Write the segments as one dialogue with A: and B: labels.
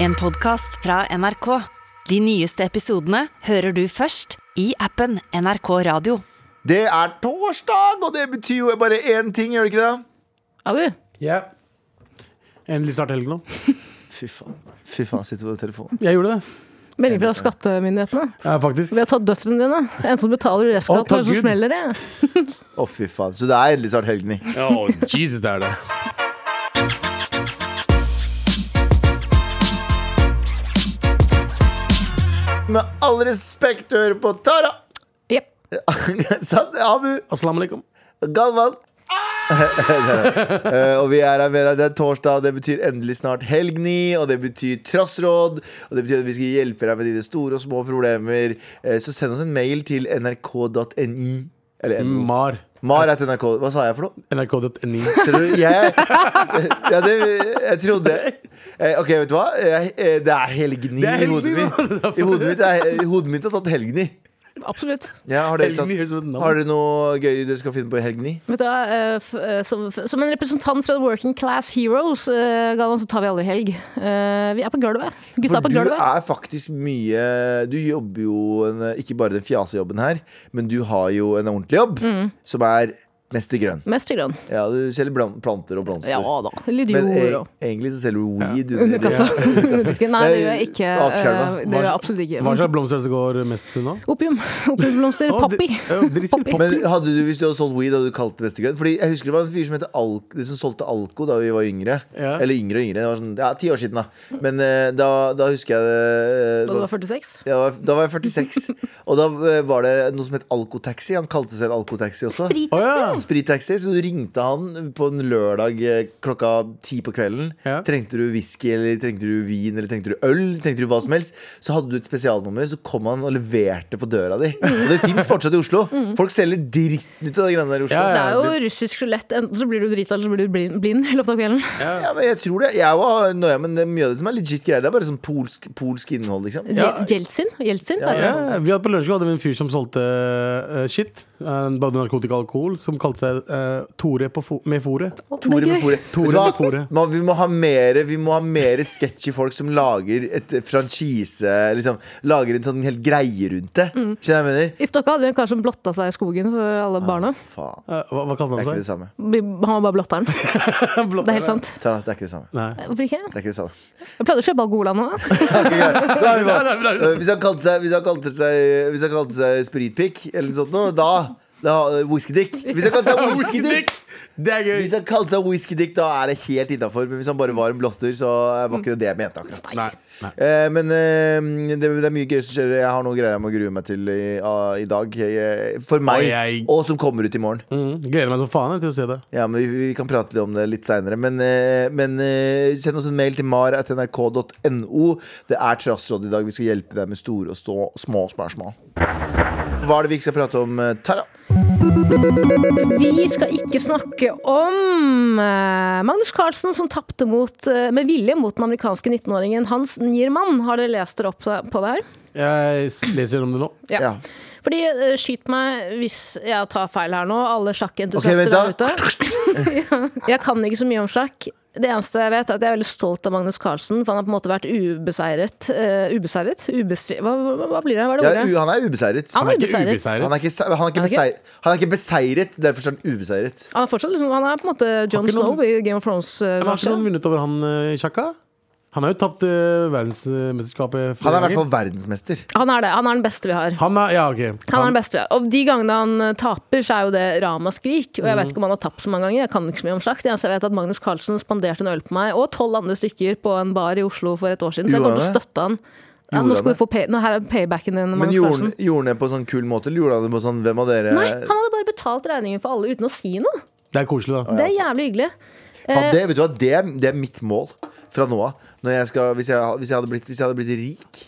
A: En podcast fra NRK. De nyeste episodene hører du først i appen NRK Radio.
B: Det er torsdag, og det betyr jo bare én ting, gjør det ikke det?
C: Abu,
D: Ja. Endelig snart helg nå.
B: Fy faen. Fy faen, sitter du på telefonen?
D: Jeg gjorde det.
C: melding fra skattemyndighetene.
D: Ja, faktisk.
C: Vi har tatt døtrene dine. En som betaler
D: Å,
C: restskatt,
D: takk
C: og en som
D: Gud.
C: smeller det.
B: Å, fy faen. Så det er endelig snart helg, ni.
D: Oh, Jesus, det er det.
B: Med all respekt du hører på Tara,
C: Jep.
B: Sand, Abu,
D: Assalamu alaikum.
B: Galvan. Eh, og vi er her med deg. Det er torsdag, det betyr endelig snart helg, ni. Og det betyr trassråd. Og det betyr at vi skal hjelpe deg med dine store og små problemer. Eh, Så send oss en mail til nrk.ni. Eller NO.
D: Mar.
B: Mar etter NRK. Hva sa jeg for noe?
D: NRK.ni.
B: Skjønner du? Jeg, ja, det, jeg trodde eh, Ok, vet du hva? Jeg, eh, det er helgni
D: Det er
B: i hodet
D: helgni,
B: mitt. I hodet mitt, er, hodet mitt har tatt helgni.
C: Absolutt.
B: Ja, har, dere
D: Helgni høres ut som et
B: tatt,
D: navn.
B: har dere noe gøy dere skal finne på i helgni?
C: Vet du, hva, eh, f- eh, som, f- som en representant fra Working Class Heroes, eh, Galvan, så tar vi aldri helg. Eh, Vi er på gulvet. Gutta er
B: For
C: på
B: du
C: gulvet.
B: er faktisk mye Du jobber jo en, ikke bare den fjasejobben her, men du har jo en ordentlig jobb,
C: Mm.
B: som er Mester grønn.
C: Mest grønn.
B: Ja, du selger blan- planter og blomster.
C: Ja da. Litt
B: men eh,
C: jord og
B: egentlig så selger du weed
C: under kassa. Underdisken. Nei, det gjør jeg ikke.
B: Eh, Akerselva.
C: Eh, Det gjør jeg absolutt
D: Hva
C: ikke.
D: slags blomster er det som går mest nå?
C: Opium. Opiumblomster.
D: Å,
C: Poppy.
D: det- ja, det er riktig.
C: Poppy.
B: Men hadde du, hvis du hadde solgt weed, hadde du kalt det mestegrønn? Fordi jeg husker det var en fyr som, het Al de som solgte Alko da vi var yngre.
D: Ja.
B: Eller yngre og yngre. Det var sånn, ja, ti år siden, da. Men eh, da, da husker jeg det
C: Da du var 46?
B: ja, da var- da var jeg 46. og da eh, var det noe som het Alkotaxi. Han kalte seg selv Alkotaxi også.
C: Sprit.
D: Å ja.
B: Sprittaxi. Så du ringte han på en lørdag eh, klokka ti på kvelden.
D: Ja.
B: Trengte du whisky, eller trengte du vin, eller trengte du øl, trengte du hva som helst. Så hadde du et spesialnummer, så kom han og leverte på døra di. Og det fins fortsatt i Oslo. Folk selger dritten ut av de greiene der i Oslo.
D: Mm. Ja,
C: Det er jo
D: du-
C: russisk skjelett. Enten så blir du drita, eller så blir du blind, blind i løpet av kvelden.
B: Ja, men jeg tror det. Jeg var nøye, men det er mye av det som er legit greier. Det er bare sånn polsk, polsk innhold, liksom.
D: Ja.
C: Gjel- Jeltsin? Jeltsin?
B: Ja,
D: Ja, vi hadde på lunsj hadde vi en fyr som solgte eh, shit. eh, Både narkotika og alkohol. Som kalte seg eh, Tore på fo med foret.
B: Tore med fore.
D: Tore
B: Vet du hva?
D: med fore.
B: Man, vi må ha mere, vi må ha mere sketchy folk som lager et franchise liksom, Lager en sånn hel greie rundt det.
D: Mm.
B: Skjønner du hva jeg mener?
C: I Stokka hadde vi en kar som blotta seg i skogen for alle barna.
B: Faen.
D: Eh, hva, hva
B: Det
D: kalte
B: er ikke
D: han
B: det
D: seg?
B: samme.
C: Vi- Han var bare blotteren. Det er helt sant.
B: Tara, det er ikke det samme.
D: Nei.
C: Hvorfor ikke?
B: Det er ikke det samme.
C: Jeg pleide å kjøpe Algola nå.
B: Ok, greit. Da er vi på.
D: Der er vi, der er vi.
B: Eh, Hvis han kalte seg, hvis han kalte seg, hvis han kalte seg spritpikk eller noe sånt, noe, da, da eh, Whiskydick. Hvis han kalte seg whiskydick
D: Det er gøy.
B: Hvis han kalte seg whiskydick, da er det helt innafor. Men hvis han bare var en blotter, så var ikke det det jeg mente akkurat.
D: Nei. Nei.
B: Eh, men eh, det, det er mye gøy som skjer. Jeg har noen greier jeg må grue meg til i, ah, i dag. Jeg, for meg,
D: Og
B: og,
D: jeg-
B: som kommer ut i morgen.
D: Mm, gleder meg som faen jeg, til å se det.
B: Ja, men vi, vi kan prate litt om det litt seinere. Men, eh, men eh, send oss en mail til mar.nrk.no. Det er trassråd i dag. Vi skal hjelpe deg med store og stå, små spørsmål. Hva er det vi ikke skal prate om, eh, Tara?
C: Vi skal ikke snakke om eh, Magnus Carlsen som tapte mot, eh, med vilje mot den amerikanske 19-åringen Hans Niermann. Har dere lest dere opp på det her?
D: Jeg s- leser om det nå.
C: Ja.
B: Ja.
C: Fordi, eh, skyt meg hvis jeg tar feil her nå.
B: Ok,
C: Alle
B: vent
C: sjakkentusiaster
B: da.
C: der ute. Jeg kan ikke så mye om sjakk. Det eneste jeg vet, er at jeg er veldig stolt av Magnus Carlsen. For han har på en måte vært ubeseiret. eh, ubeseiret? Ubestri... Hva, hva, hva blir det? Hva er det
B: Ja,
C: ordet?
B: u- han er ubeseiret.
C: Han
D: Han er
C: er
D: ikke
C: ubeseiret.
B: Han
D: ubeseiret.
B: er ikke, se- han er ikke,
C: Er han
B: beseiret, han er ikke beseiret, derfor er han ubeseiret.
C: Han er fortsatt liksom, han er på en måte John
D: ikke noen-
C: Snow i Game of Thrones. eh,
D: Men har ikke
C: kanskje.
D: noen vunnet over han eh, Tjaka? Han har jo tapt eh, verdensmesterskapet flere
B: Han er i hvert
D: ganger.
B: fall verdensmester.
C: Han er det. Han er den beste vi har.
D: Han er, ja, ok
C: Han er den beste vi har. Og de gangene han eh, taper, så er jo det ramaskrik. Og jeg
B: Mm.
C: vet ikke om han har tapt så mange ganger. Jeg kan ikke så mye om sjakk. Det eneste jeg vet er at Magnus Carlsen spanderte en øl på meg og tolv andre stykker på en bar i Oslo for et år siden. Så jeg
B: Gjorde
C: kommer til
B: han
C: å
B: det?
C: støtte han. Ja,
B: Gjorde
C: nå skal
B: han
C: du få pay nå, her er paybacken din,
B: Men
C: Magnus
B: gjorde,
C: Carlsen.
B: gjorde han det på en sånn kul måte, eller gjorde han det på sånn Hvem av dere
C: Nei, han hadde bare betalt regningen for alle uten å si noe.
D: Det er koselig, da.
C: Det er jævlig hyggelig.
B: Faen, det, vet du hva, det, er- det er mitt mål fra nå av. Når jeg skal- Hvis, jeg- hvis, jeg hadde blitt- hvis jeg hadde blitt rik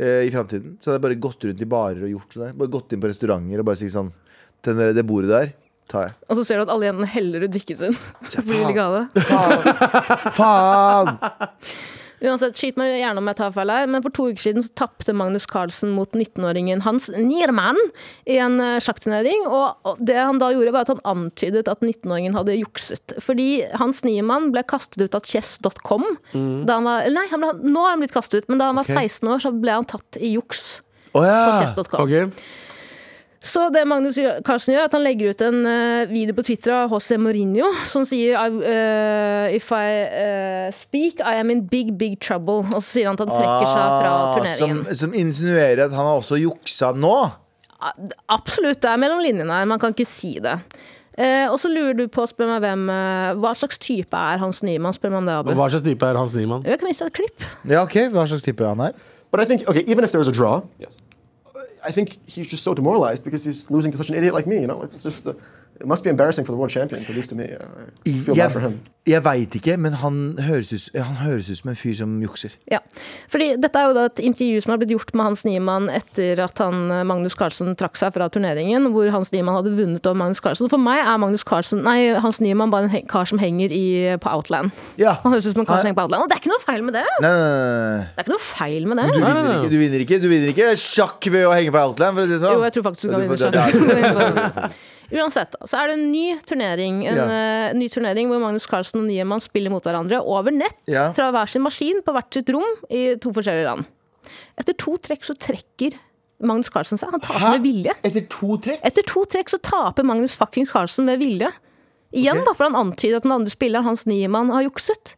B: eh, i framtiden, så hadde jeg bare gått rundt i barer og gjort sånn der. Bare gått inn på restauranter og bare sagt sånn den der, Det bordet der tar jeg.
C: Og så ser du at alle jentene heller ut drikken sin.
B: Ja,
C: Blir
B: faen.
C: gave.
B: Faen! Faen!
C: Uansett, skyt meg gjerne om jeg tar feil her, men for to uker siden så tapte Magnus Carlsen mot 19-åringen Hans Niermann i en eh, sjakkturnering. Og og det han da gjorde, var at han antydet at 19-åringen hadde jukset. Fordi Hans Niermann ble kastet ut av chess.com. da han var- eller Nei, han ble, nå har han blitt kastet ut, men da han var
B: Ok. Ah,
C: 16 år, så ble han tatt i juks.
B: Å
C: på
B: ja!
C: chess.com.
D: Ok.
C: Så det Magnus gjør- Carlsen gjør, er at han legger ut en eh, video på Twitter av José Mourinho som sier I, eh, If I eh, speak, I am in big, big trouble. Og så sier han at han trekker seg fra
B: Ah,
C: turneringen.
B: Som, som insinuerer at han har også juksa nå.
C: Ah, Absolutt, det er mellom linjene her. Man kan ikke si det. Eh, og så lurer du på, spør meg hvem eh, Hva slags type er Hans Nyman? Spør man det, Abu.
D: Hva slags type er Hans Niemann?
C: Jeg kan vise deg et klipp.
B: Ja, ok, Hva slags type er han her?
E: But I think, okay, even if there was a draw, yes. I think he's just so demoralized because he's losing to such an idiot like me. You know, it's just, uh, it must be embarrassing for the world champion to lose to me. Uh, I feel bad for
B: Jeg,
E: him.
B: jeg veit ikke, men han høres, ut, han høres ut som en fyr som jukser.
C: Ja, fordi dette er jo da et intervju som har blitt gjort med Hans Niemann etter at han, eh, Magnus Carlsen trakk seg fra turneringen, hvor Hans Niemann hadde vunnet over Magnus Carlsen. For meg er Magnus Carlsen, nei, Hans Niemann bare en he- kar som henger i, på Outland.
B: Ja.
C: Han høres ut som en kar som
B: Nei.
C: henger på Outland. Og det er ikke noe feil med det!
B: Nei, nei, nei, nei.
C: Det er ikke noe feil med det.
B: Du vinner ikke, du vinner ikke, du vinner ikke sjakk ved å henge på Outland, for å si det sånn.
C: Jo, jeg tror faktisk du kan
B: Ja,
C: vinne
B: får- det- det er-
C: sjakk. Uansett, da, så er det en ny turnering En
B: Ja.
C: eh, ny turnering hvor Magnus Carlsen og Niemann spiller mot hverandre over nett
B: Ja.
C: fra hver sin maskin på hvert sitt rom i to forskjellige land. Etter to trekk så trekker Magnus Carlsen seg. Han taper med vilje.
B: Etter to trekk?
C: Etter to trekk så taper Magnus fucking Carlsen med vilje. Igjen, da, for han antyder at den andre spilleren, Hans Niemann, har jukset.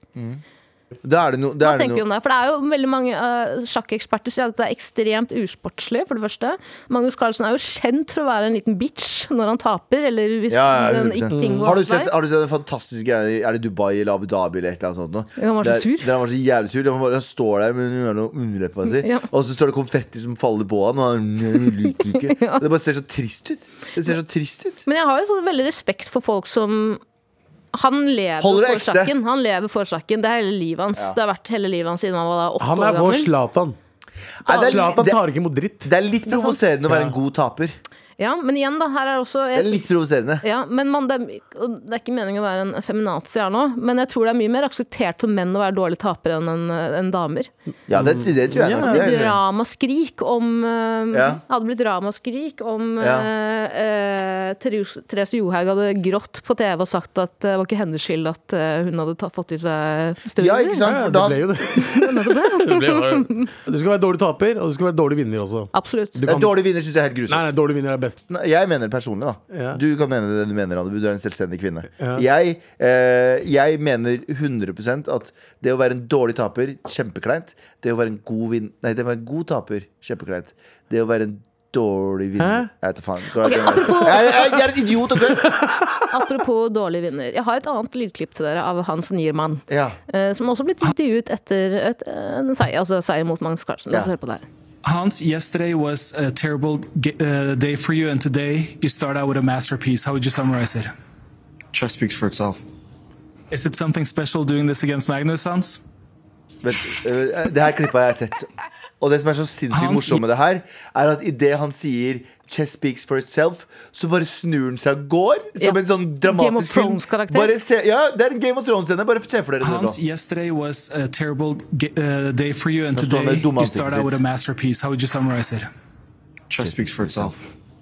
B: Da er det noe da
C: Hva
B: er det
C: tenker vi
B: noe-
C: om det? For det er jo veldig mange eh, sjakkeksperter sier at det er ekstremt usportslig, for det første. Magnus Carlsen er jo kjent for å være en liten bitch når han taper, eller hvis
B: Ja, ja,
C: den
B: 100%.
C: ikke- ting går
B: har du,
C: hans vei.
B: sett, har du sett den fantastiske greia i- Er det Dubai eller Abu Dhabi eller et eller annet sånt? nå?
C: Ja, han var så
B: der,
C: sur.
B: Der han var så jævlig sur. Han, bare, han står der med noe underleppa si,
C: Ja.
B: og så står det konfetti som faller på han. Og han jeg vil ikke.
C: Ja.
B: Det bare ser så trist ut. Det ser så trist ut.
C: Men jeg har jo sånn veldig respekt for folk som han lever
B: Holder det
C: for
B: ekte.
C: sjakken. Han lever for sjakken. Det er hele livet hans. Det har vært hele livet hans siden han var da åtte
D: Han er
C: år
D: vår
C: gammel.
D: Zlatan.
B: Nei, det, er,
D: Zlatan
B: det,
D: tar ikke imot dritt.
B: det er litt provoserende å være en god taper.
C: Ja, men igjen, da. Her er også
B: Det er litt provoserende.
C: Ja, men man, det, er, og det er ikke meningen å være en feminazi her nå, men jeg tror det er mye mer akseptert for menn å være dårlige tapere enn en, eh, enn damer.
B: Ja, det, det tror jeg. nok.
C: Det
B: Det
C: blir
B: er-
C: ramaskrik om eh,
B: Ja.
C: Hadde blitt ramaskrik om
B: Ja.
C: eh, eh, Therese Therese Johaug hadde grått på TV og sagt at det var ikke hennes skyld at eh, hun hadde ta, fått i seg støvler.
B: Ja, ikke sant?
D: Ja,
B: For
D: det
B: da,
D: ble jo det. det ble jo det. Du skal være dårlig taper, og du skal være dårlig vinner også.
C: Absolutt.
D: Du
B: Ja,
D: kan...
B: dårlig vinner syns jeg er helt grusomt.
D: Nei, nei, dårlig vinner er best.
B: Nei, Jeg mener det personlig, da.
D: Ja.
B: Du kan mene det du mener, Annebu. Du er en selvstendig kvinne.
D: Ja.
B: Jeg, eh, jeg mener 100 at det å være en dårlig taper, kjempekleint. Det å være en god vin Nei, det å være en god taper, kjempekleint. Det å være en dårlig vinner
D: Hæ?
B: Jeg vet da faen. Hva er det jeg, mener? jeg, er- jeg er en idiot og gøy!
C: Apropos dårlig vinner. Jeg har et annet lydklipp til dere av Hans Niermann.
B: Ja.
C: eh, som også ble intervjuet etter et, eh, en seier, altså seier mot Magnus Carlsen. La oss
B: Ja.
C: høre på det her.
F: Hans, yesterday was a terrible g- uh, day for you, and today you start out with a masterpiece. How would you summarize it?
G: Chess speaks for itself.
F: Is it something special doing this against Magnus, Hans?
B: Vent, eh, det her klippet har jeg sett. Og det som er så sinnssykt
F: Han
B: morsomt med det her, er at idet han sier 'Chess speaks for itself', så bare snur han seg og går. Som
C: Ja.
B: en sånn
C: Game of
B: dramatisk film.
C: Thrones-karakter.
B: Bare se, ja, det er en Game of Thrones-scene. Bare se for dere det nå.
F: Hans, yesterday was a terrible g- uh, day for you, and
B: står han med
F: today
B: dumme
F: you start
B: ansiktet
F: out with
B: sitt.
F: a masterpiece. How would you summarize it?
G: Chess speaks for itself.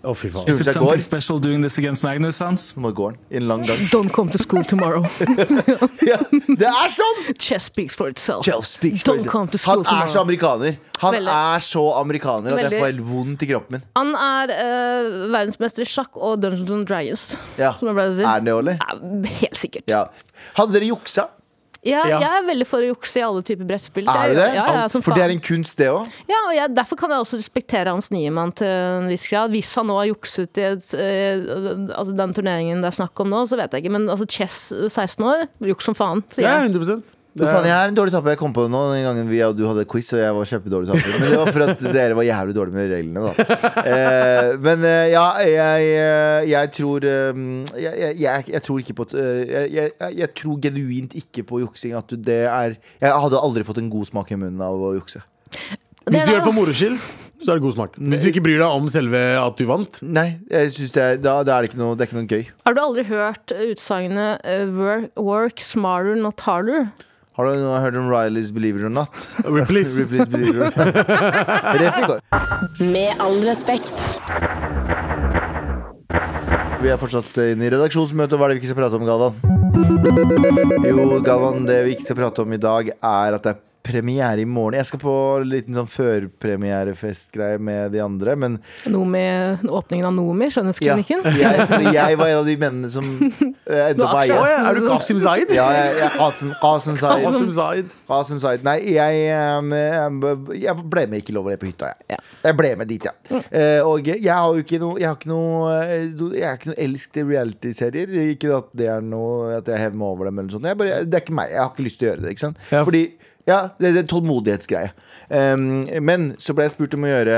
D: Å, fy faen.
F: Is
B: Snur
F: it
B: seg og
F: something
B: går.
F: special doing this against Magnus, Hans?
B: Nå går han i en lang gang.
C: Don't come to school tomorrow.
B: Ja, det er sånn!
C: Chess speaks for itself.
B: Chelsea speaks for
C: Don't
B: itself.
C: come to school
B: Han er så
C: tomorrow.
B: amerikaner. Han
C: Veldig.
B: er så amerikaner at jeg
C: Veldig.
B: får helt vondt i kroppen min.
C: Han er eh, verdensmester i sjakk og Dungeons and Dragons.
B: Ja.
C: Som jeg pleier å si.
B: Er han det, eller?
C: Ja, helt sikkert.
B: Ja. Hadde dere juksa?
C: Jeg,
D: Ja.
C: jeg er veldig for å jukse i alle typer brettspill. så
B: Er
C: jeg-
B: du det?
C: Ja, ja,
B: Alt.
C: som
B: For det er
C: faen.
B: en kunst, det òg.
C: ja, og jeg, derfor kan jeg også respektere Hans Niemann til en viss grad. Hvis han nå har jukset i et, eh, altså den turneringen det er snakk om nå, så vet jeg ikke. Men altså, Chess eh, 16 år, juks som faen. sier
D: Ja,
C: jeg.
D: 100
B: Jeg er en dårlig taper. Jeg kom på det nå den gangen vi og du hadde quiz, og jeg var kjempedårlig taper. Men det var for at dere var jævlig dårlige med reglene, da. Eh, men eh, ja, jeg, eh, jeg tror eh, jeg, jeg, jeg, jeg tror ikke på at, eh, jeg, jeg, jeg tror genuint ikke på juksing. At det er Jeg hadde aldri fått en god smak i munnen av å jukse.
D: Hvis du
C: Det er-
D: gjør det for moro skyld, så er det god smak. Hvis du ikke bryr deg om selve at du vant
B: Nei, jeg synes det er, da, da er det ikke noe, det er ikke noe gøy.
C: Har du aldri hørt utsagnet eh, work, 'work smarter, not harder'?
B: Har du noe hørt om Rileys Believe It or Not?
D: Ripley's.
B: Ripley's Believe It or Not. Ref i går.
H: Med all respekt.
B: Vi er fortsatt inne i redaksjonsmøtet. Hva er det vi ikke skal prate om, Galvan? Jo, Galvan, det vi ikke skal prate om i dag, er at det er premiere i morgen. Jeg skal på en liten sånn førpremierefestgreie med de andre, men
C: Nomi, åpningen av Nomi,
B: ja,
C: skjønnhetsklinikken.
B: jeg, fordi jeg var en av de mennene som eh, endte
C: Du
B: opp med å
C: aksjer-
B: eie.
D: Åja, er du Qasim Zaid?
B: Ja, jeg, jeg, Asim, Asim Zaid.
D: Qasim Zaid.
B: Asim Zaid. Nei, jeg, em, em, jeg ble med Ikke lov å le på hytta, jeg.
C: Ja.
B: Jeg ble med dit, ja. Eh, og jeg har jo ikke noe Jeg, har ikke noe, eh, do- jeg er ikke noe elsk til reality-serier. Ikke at det er noe At jeg hever meg over dem, eller noe sånt. Jeg bare, det er ikke meg. Jeg har ikke lyst til å gjøre det. Ikke sant?
D: Ja.
B: Fordi Ja, det, det er en tålmodighetsgreie. Em, men så ble jeg spurt om å gjøre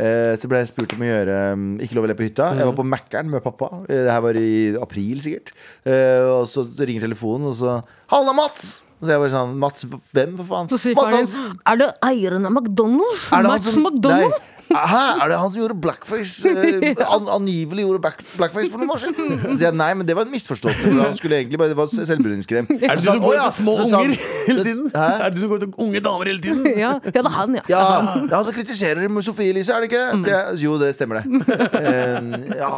B: eh, så ble jeg spurt om å gjøre em, Ikke lov å le på hytta. Jeg var
D: Mhm.
B: på Mækkern med pappa. Eh, Det her var i april, sikkert. Eh, og så ringer telefonen, og så 'Halla, Mats!' Og så jeg bare sånn Mats, hvem, for faen?
C: Så sier
B: Mats
C: faren
B: Hansen.
C: din Er det eieren av McDonald's?
B: Er det han
C: Max
B: som-
C: McDonald?
B: Nei. Hæ, er det han som gjorde blackface? Eh, an, angivelig gjorde back, blackface for noen år siden? Så sier jeg nei, men det var en misforståelse. For han skulle egentlig bare, Det var selvbruningskrem.
D: Er det du
B: sånn,
D: som går etter små unger hele tiden?
B: Hæ?
D: Er det du som går etter unge damer hele tiden?
C: Ja, ja, det er han, ja.
B: Ja, det er han som kritiserer med Sofie Elise, er det ikke? Så jeg, jo, det stemmer det. Eh, ja.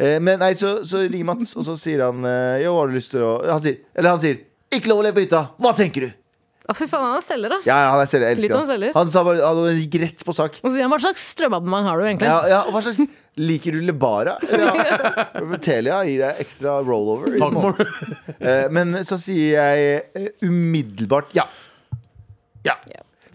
B: Eh, men nei, så, så ringer Mats, og så sier han eh, Jo, har du lyst til å Han sier, eller han sier ikke lov å le på hytta! Hva tenker du?
C: Å, fy faen, han er selger, ass.
B: Ja, ja, han er selv, jeg
C: Litt
B: elsker
C: av en
B: han.
C: selger.
B: Han, sa bare, han gikk rett på sak.
C: Og så sier han hva slags strømabonnement har du egentlig?
B: Ja, ja, og hva slags Liker du Lebara? Ja. Telia gir deg ekstra rollover. i
D: Talkmore.
B: måneden. Eh, Men så sier jeg eh, umiddelbart ja. Ja.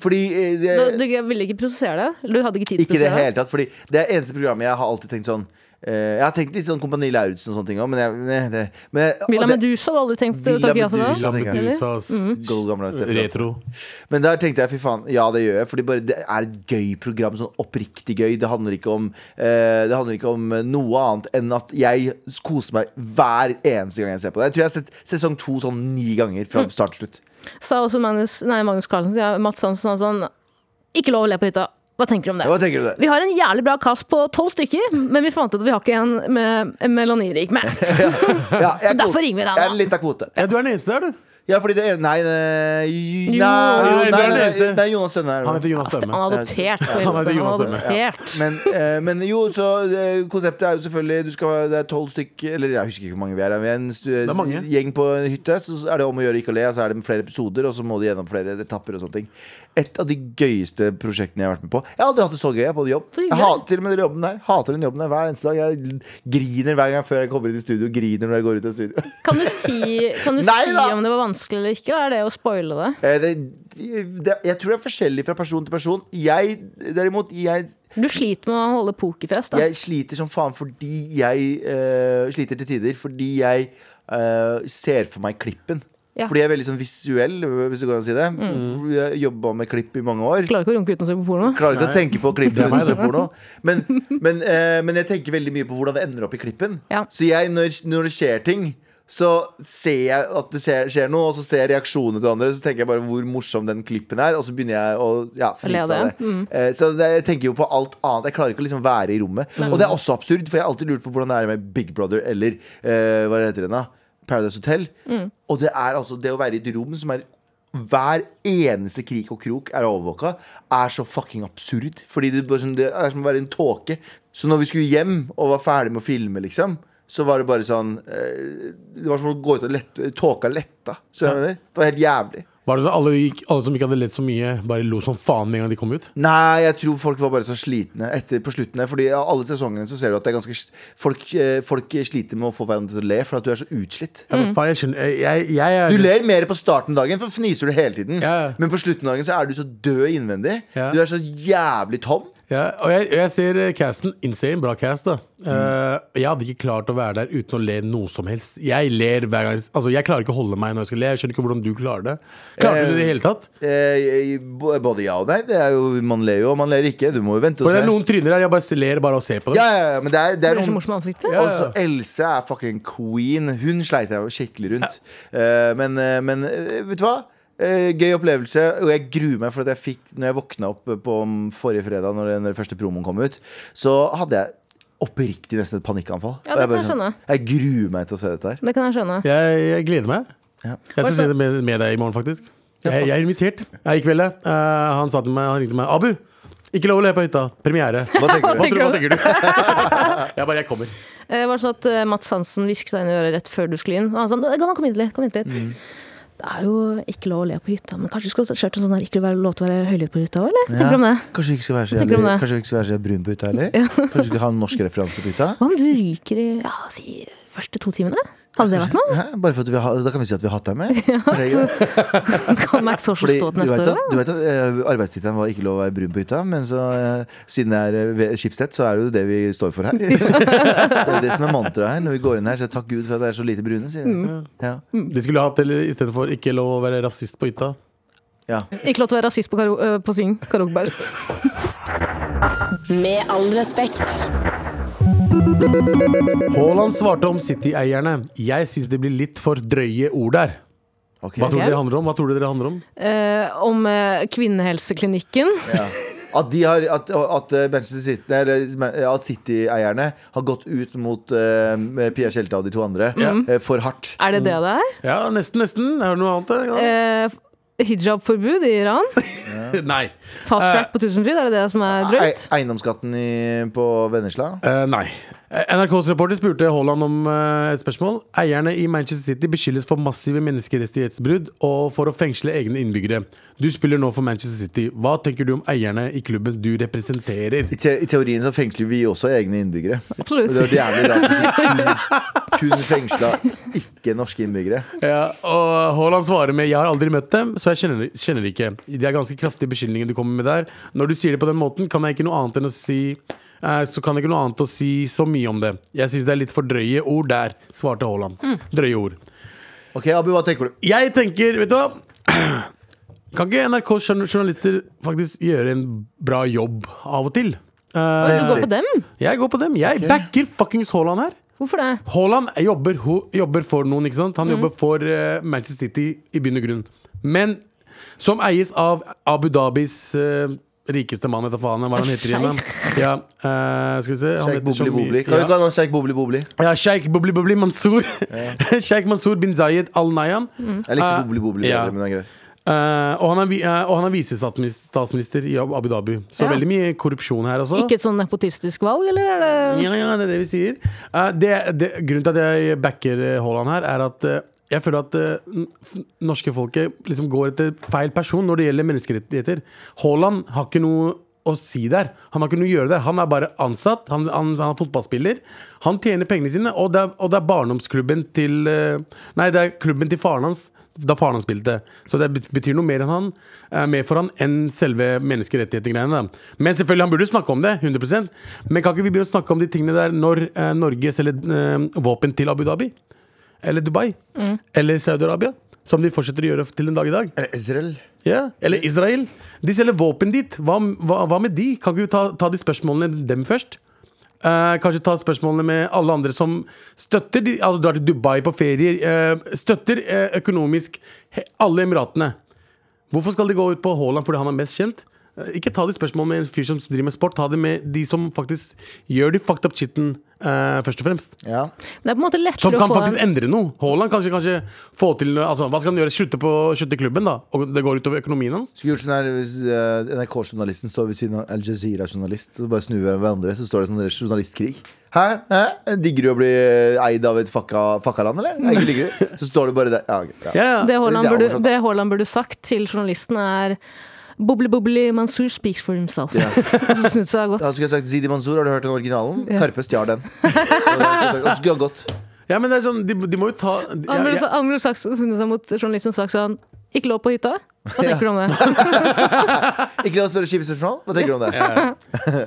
B: Fordi eh, det,
C: Du, du ville ikke produsere det? Du hadde ikke tid til å
B: Ikke i det
C: produsere
B: hele tatt. Fordi det er eneste programmet jeg har alltid tenkt sånn eh, Jeg har tenkt litt sånn Kompani Lauritzen og sånne ting òg, men jeg ne, det, men, jeg-
C: Villa
B: og det-
C: Medusa hadde du aldri tenkt å
B: Villa
C: takke ja til
B: Medusa.
C: det?
B: tenker jeg.
D: Medusa, ass.
B: God gammeldags referanse.
D: Retro.
B: Men der tenkte jeg fy faen, ja det gjør jeg. Fordi bare, det er et gøy program. Sånn oppriktig gøy. Det handler ikke om eh, Det handler ikke om noe annet enn at jeg koser meg hver eneste gang jeg ser på det. Jeg tror jeg har sett sesong to sånn ni ganger fra
C: Mm.
B: start til slutt.
C: Sa også Magnus, nei, Magnus Carlsen, ja, Mats Hansen, han sånn Ikke lov å le på hytta. Hva tenker du om det?
B: Hva tenker du det?
C: Vi har en jævlig bra cast på tolv stykker, men vi fant ut at vi har ikke en med en melanirik med.
B: Ja, jeg er
C: Så derfor
B: kvote.
C: ringer vi deg,
B: Jeg
C: da.
B: er litt av kvote.
D: Ja, du er den eneste der, du.
B: Ja, fordi det ene Nei, nei, nei,
C: Jo.
B: nei,
D: Nei, du
B: nei,
D: er den
B: nei, nei,
D: eneste.
B: nei Jonas Stønne er
D: Han
B: det.
D: heter Jonas
C: Han
D: Stemme.
C: er adoptert. for
D: Han er
C: helvete.
D: Jonas
C: Han er
D: Stemme.
C: adoptert.
B: Men, eh, men jo, så eh, konseptet er jo selvfølgelig du skal, Det er tolv stykk Eller jeg husker ikke hvor mange vi er Vi er en stu,
D: er mange.
B: gjeng på en hytte Så er det om å gjøre ikke å le Så er det flere episoder Og så må du gjennom flere etapper og sånne ting Et av de gøyeste prosjektene jeg har vært med på Jeg har aldri hatt det så gøy jeg, på jobb
C: Så hyggelig.
B: Jeg hater til og med den jobben der Hater den jobben der hver eneste dag Jeg griner hver gang før jeg kommer inn i studio Griner når jeg går ut av studio
C: Kan du si, kan du
B: Nei
C: si
B: da!
C: om det var vanskelig eller ikke? Er det å spoile det?
B: Eh, det, det, Jeg tror det er forskjellig fra person til person Jeg, derimot, jeg
C: Du sliter med å holde pokerfest. Da.
B: Jeg sliter som faen fordi jeg eh, sliter til tider fordi jeg eh, ser for meg klippen.
C: Ja. Mm.
B: Fordi jeg er veldig sånn visuell, hvis det går an å si det. Jeg jobba med klipp i mange år.
C: Klarer ikke å runke uten å se på porno.
B: Klarer ikke å tenke på klippen
D: Det er meg,
B: uten å se
D: det.
B: porno. Men, men, eh, men jeg tenker veldig mye på hvordan det ender opp i klippen.
C: Ja.
B: Så jeg, når, når det skjer ting, så ser jeg at det skjer, skjer noe, og så ser jeg reaksjonene til andre. Så tenker jeg bare hvor morsom den klippen er, og så begynner jeg å ja, fnise
C: Le av
B: av
C: det, Mm.
B: det. Eh, Så det, jeg tenker jo på alt annet. Jeg klarer ikke å liksom være i rommet. Og det er også absurd, for jeg har alltid lurt på hvordan det er med Big Brother eller eh, hva heter den da? Paradise Hotel.
C: Mm.
B: Og det er altså det å være i et rom som er hver eneste krik og krok er overvåka, er så fucking absurd. Fordi det, bare sånn- det er som å være i en tåke. Så når vi skulle hjem og var ferdig med å filme, liksom, så var det bare sånn eh, Det var som å gå ut og lette Tåka letta. Så jeg mener, det var helt jævlig.
D: Var det sånn at alle, gikk- alle som ikke hadde lett så mye, bare lo som faen med en gang de kom ut?
B: Nei, jeg tror folk var bare så slitne etter, på slutten. der, Fordi av alle sesongene så ser du at det er ganske, folk, eh, folk sliter med å få hverandre til å le, for at du er så utslitt.
D: Ja, men faen, jeg skjønner jeg, jeg, jeg, er-
B: Du ler mer på starten av dagen, for fniser du hele tiden.
D: Ja, ja.
B: Men på slutten av dagen så er du så død innvendig.
D: Ja.
B: Du er så jævlig tom.
D: Ja, og jeg, jeg ser eh, casten insane. Bra cast, da. Eh, jeg hadde ikke klart å være der uten å le noe som helst. Jeg ler hver gang Altså, jeg klarer ikke å holde meg når jeg skal le. Jeg skjønner ikke hvordan du klarer det. Klarer du det i det hele tatt?
B: Eh, bo- både ja og nei. Det er jo, man ler jo, og man ler ikke. Du må jo vente og
D: For det
B: se.
D: er noen tryner der jeg bare ler bare av å se på dem.
B: Ja, ja, ja, men det er, det
C: Det
B: er
C: blir så
B: noen
C: morsomt i ansiktet.
D: Ja, ja.
B: Også Altså, Else er fucking queen. Hun sleit jeg jo skikkelig rundt. Eh, men, eh, men eh, vet du hva? Eh, gøy opplevelse, og jeg gruer meg for at jeg fikk Når jeg våkna opp på om forrige fredag, når den første promoen kom ut, så hadde jeg oppriktig nesten et panikkanfall. Og
C: Ja, det
B: jeg, bare
C: kan jeg
B: sånn,
C: skjønne.
B: jeg gruer meg til å se dette her.
C: Det kan jeg skjønne.
D: Jeg, jeg gleder meg. Jeg skal se det med, med deg i morgen, faktisk. Jeg, jeg er invitert. Jeg gikk vel det. Eh, han, sa til meg, han ringte meg Abu, ikke lov å le på hytta. Premiere. Hva,
B: Hva tenker du?
D: tror, hva tenker du? jeg bare jeg kommer.
C: Det var sånn at eh, Mats Hansen hvisket deg inn i øret rett før du skulle inn. Og han sa kan han komme hit litt, kom hit litt.
B: Mm.
C: Det er jo ikke lov å le på hytta, men kanskje du skulle kjørt en sånn der ikke være lov til å være høylytt på hytta òg, eller? Tenker du om det?
B: Kanskje vi ikke skal være så,
C: Hva tenker du om
B: jævlig,
C: det?
B: kanskje vi ikke skal være så brun på hytta heller? Kanskje vi skal ha en norsk referanse på hytta?
C: Hva om du ryker i ja, si første to timene? Hadde det vært noe?
B: Hæ? Bare for at vi har, da kan vi si at vi har hatt deg med. Er det greit?
C: Kan Max Social
B: Fordi
C: stå
B: du
C: til neste
B: vet
C: år?
B: at, du vet at eh, arbeidstittelen var ikke lov å være brun på hytta, men så, eh, siden det er eh, ved- Schibsted, så er det jo det vi står for her. det er det som er mantraet her. Når vi går inn her, så takk Gud for at det er så lite brune, sier jeg.
C: Mm.
B: Ja.
D: De skulle hatt eller, i stedet for ikke lov å være rasist på hytta.
B: Ja.
C: da? Ikke lov til å være rasist på, karo øh, på sving, karaokebar.
H: Med all respekt.
D: Haaland svarte om City-eierne. Jeg syns det blir litt for drøye ord der.
B: Ok.
D: Hva tror
C: Ok.
D: dere det handler om? Hva tror dere det handler om?
C: Eh, om eh, kvinnehelseklinikken.
B: Ja. At, de har, at, at eh, Manchester City eller At City-eierne har gått ut mot eh, Pia Tjelta og de to andre eh, for hardt.
C: Er det det
D: Mm.
C: det er?
D: Ja, nesten, nesten. Er det noe annet? Ja.
C: Eh, Hijabforbud i Iran?
B: Eh.
D: Nei.
C: Fast track
D: Eh.
C: på Tusenfryd, er det det som er drøyt?
B: Ei- Eiendomsskatten i, på Vennesla.
D: Eh, nei. Eh, NRKs reporter spurte Haaland om eh, et spørsmål. Eierne i Manchester City beskyldes for massive menneskerettighetsbrudd og for å fengsle egne innbyggere. Du spiller nå for Manchester City. Hva tenker du om eierne i klubben du representerer?
B: I, te I teorien så fengsler vi også egne innbyggere.
C: Absolutt.
B: Og Det er jævlig rart å si kun, kun fengsla ikke norske innbyggere.
D: Ja, og Haaland svarer med 'Jeg har aldri møtt dem, så jeg kjenner, kjenner de ikke'. Det er ganske kraftige beskyldninger du kommer med der. Når du sier det på den måten, kan jeg ikke noe annet enn å si eh, så kan jeg ikke noe annet å si så mye om det. Jeg syns det er litt for drøye ord der, svarte Haaland. Drøye ord.
B: Ok, Abu, hva tenker du?
D: Jeg tenker, vet du hva Kan ikke NRK journa- journalister faktisk gjøre en bra jobb av og til? Eh,
C: Du går på dem?
D: jeg går på dem. Jeg backer fuckings Haaland her.
C: Hvorfor det?
D: Haaland jobber, ho- jobber for noen, ikke
B: Mhm.
D: sant? Han jobber for eh, Manchester City i bunn og grunn. Men som eies av Abu Dhabis eh, rikeste mann, etter faen hva han heter igjen. da. Ja, eh, skal vi se han
B: Sheikh
D: heter så
B: Bobli
D: mye-
B: Bobli. Kan vi
D: Ja.
B: ta noen Sheikh Bobli Bobli?
D: Ja, Sheikh Bobli Bobli Mansour. Sheikh Mansour bin Zayed Al Nayan.
B: Mm. Jeg likte
D: Eh,
B: Bobli Bobli
D: ja.
B: bedre, men det er greit.
D: Eh, og han er, vi- eh, og han er visestatsminister i Abu Dhabi. Så
C: Ja.
D: veldig mye korrupsjon her også.
C: Ikke et sånn nepotistisk valg, eller er det
D: Ja, ja, det er det vi sier. Eh, det, det, grunnen til at jeg backer eh, Haaland her, er at eh, jeg føler at eh, n- f- norske folket liksom går etter feil person når det gjelder menneskerettigheter. Haaland har ikke noe å si der. Han har ikke noe å gjøre der. Han er bare ansatt. Han, han, han er fotballspiller. Han tjener pengene sine, og det er, og det er barndomsklubben til eh, Nei, det er klubben til faren hans da faren hans spilte. Så det bet- betyr noe mer, enn han, eh, mer for han enn selve menneskerettighetsgreiene. da. Men selvfølgelig, han burde snakke om det, 100 Men kan ikke vi begynne å snakke om de tingene der når eh, Norge selger eh, våpen til Abu Dhabi? Eller Dubai? Eller Saudi-Arabia? Som de fortsetter å gjøre til den dag i dag.
B: Eller Israel?
D: Ja, Eller Israel. De selger våpen dit. Hva, hva, hva med de? Kan ikke vi ta, ta de spørsmålene dem først? Eh, kanskje ta spørsmålene med alle andre som støtter de, altså drar til Dubai på ferier. eh, støtter eh, økonomisk he, alle Emiratene. Hvorfor skal de gå ut på Haaland fordi han er mest kjent? Eh, Ikke ta de spørsmålene med en fyr som driver med sport. Ta det med de som faktisk gjør de fucked up shitten, eh, først og fremst.
B: Ja.
C: Det er på en måte lettere
D: Som
C: å
D: kan
C: få
D: faktisk endre noe. Haaland kanskje, kanskje få til noe- altså, Hva skal han gjøre? Slutte på- slutte i klubben, da? Og det går utover økonomien hans?
B: Skulle gjort sånn her hvis eh, NRK-journalisten står ved siden av Al Jazeera-journalist, så bare snur vi hverandre, så står det sånn der journalistkrig. Hæ? Hæ? Digger du å bli eh, eid av et fucka, fucka land, eller? Nei, ikke digger du. Så står du bare der. Ja, ok, ja.
D: Ja, ja.
C: Det
B: Det
C: Haaland
B: synes jeg
C: burde,
B: er
C: det Haaland burde sagt til journalisten, er Bobli, bobli, Mansour speaks for himself.
B: Ja.
C: Så snudd seg godt.
B: Da skulle jeg sagt Zidi Mansour, har du hørt den originalen? Karpe stjal den. Og da skulle jeg sagt, «Å, skulle ha gått.
D: Ja, men det er sånn, de, de må jo ta ja,
C: Han burde,
D: ja.
C: sa- han burde sagt, snudd seg mot journalisten og sagt sånn Ikke lov på hytta? Hva tenker du om det?
B: Ikke la oss spørre skipsspørsmål. Hva tenker du om det?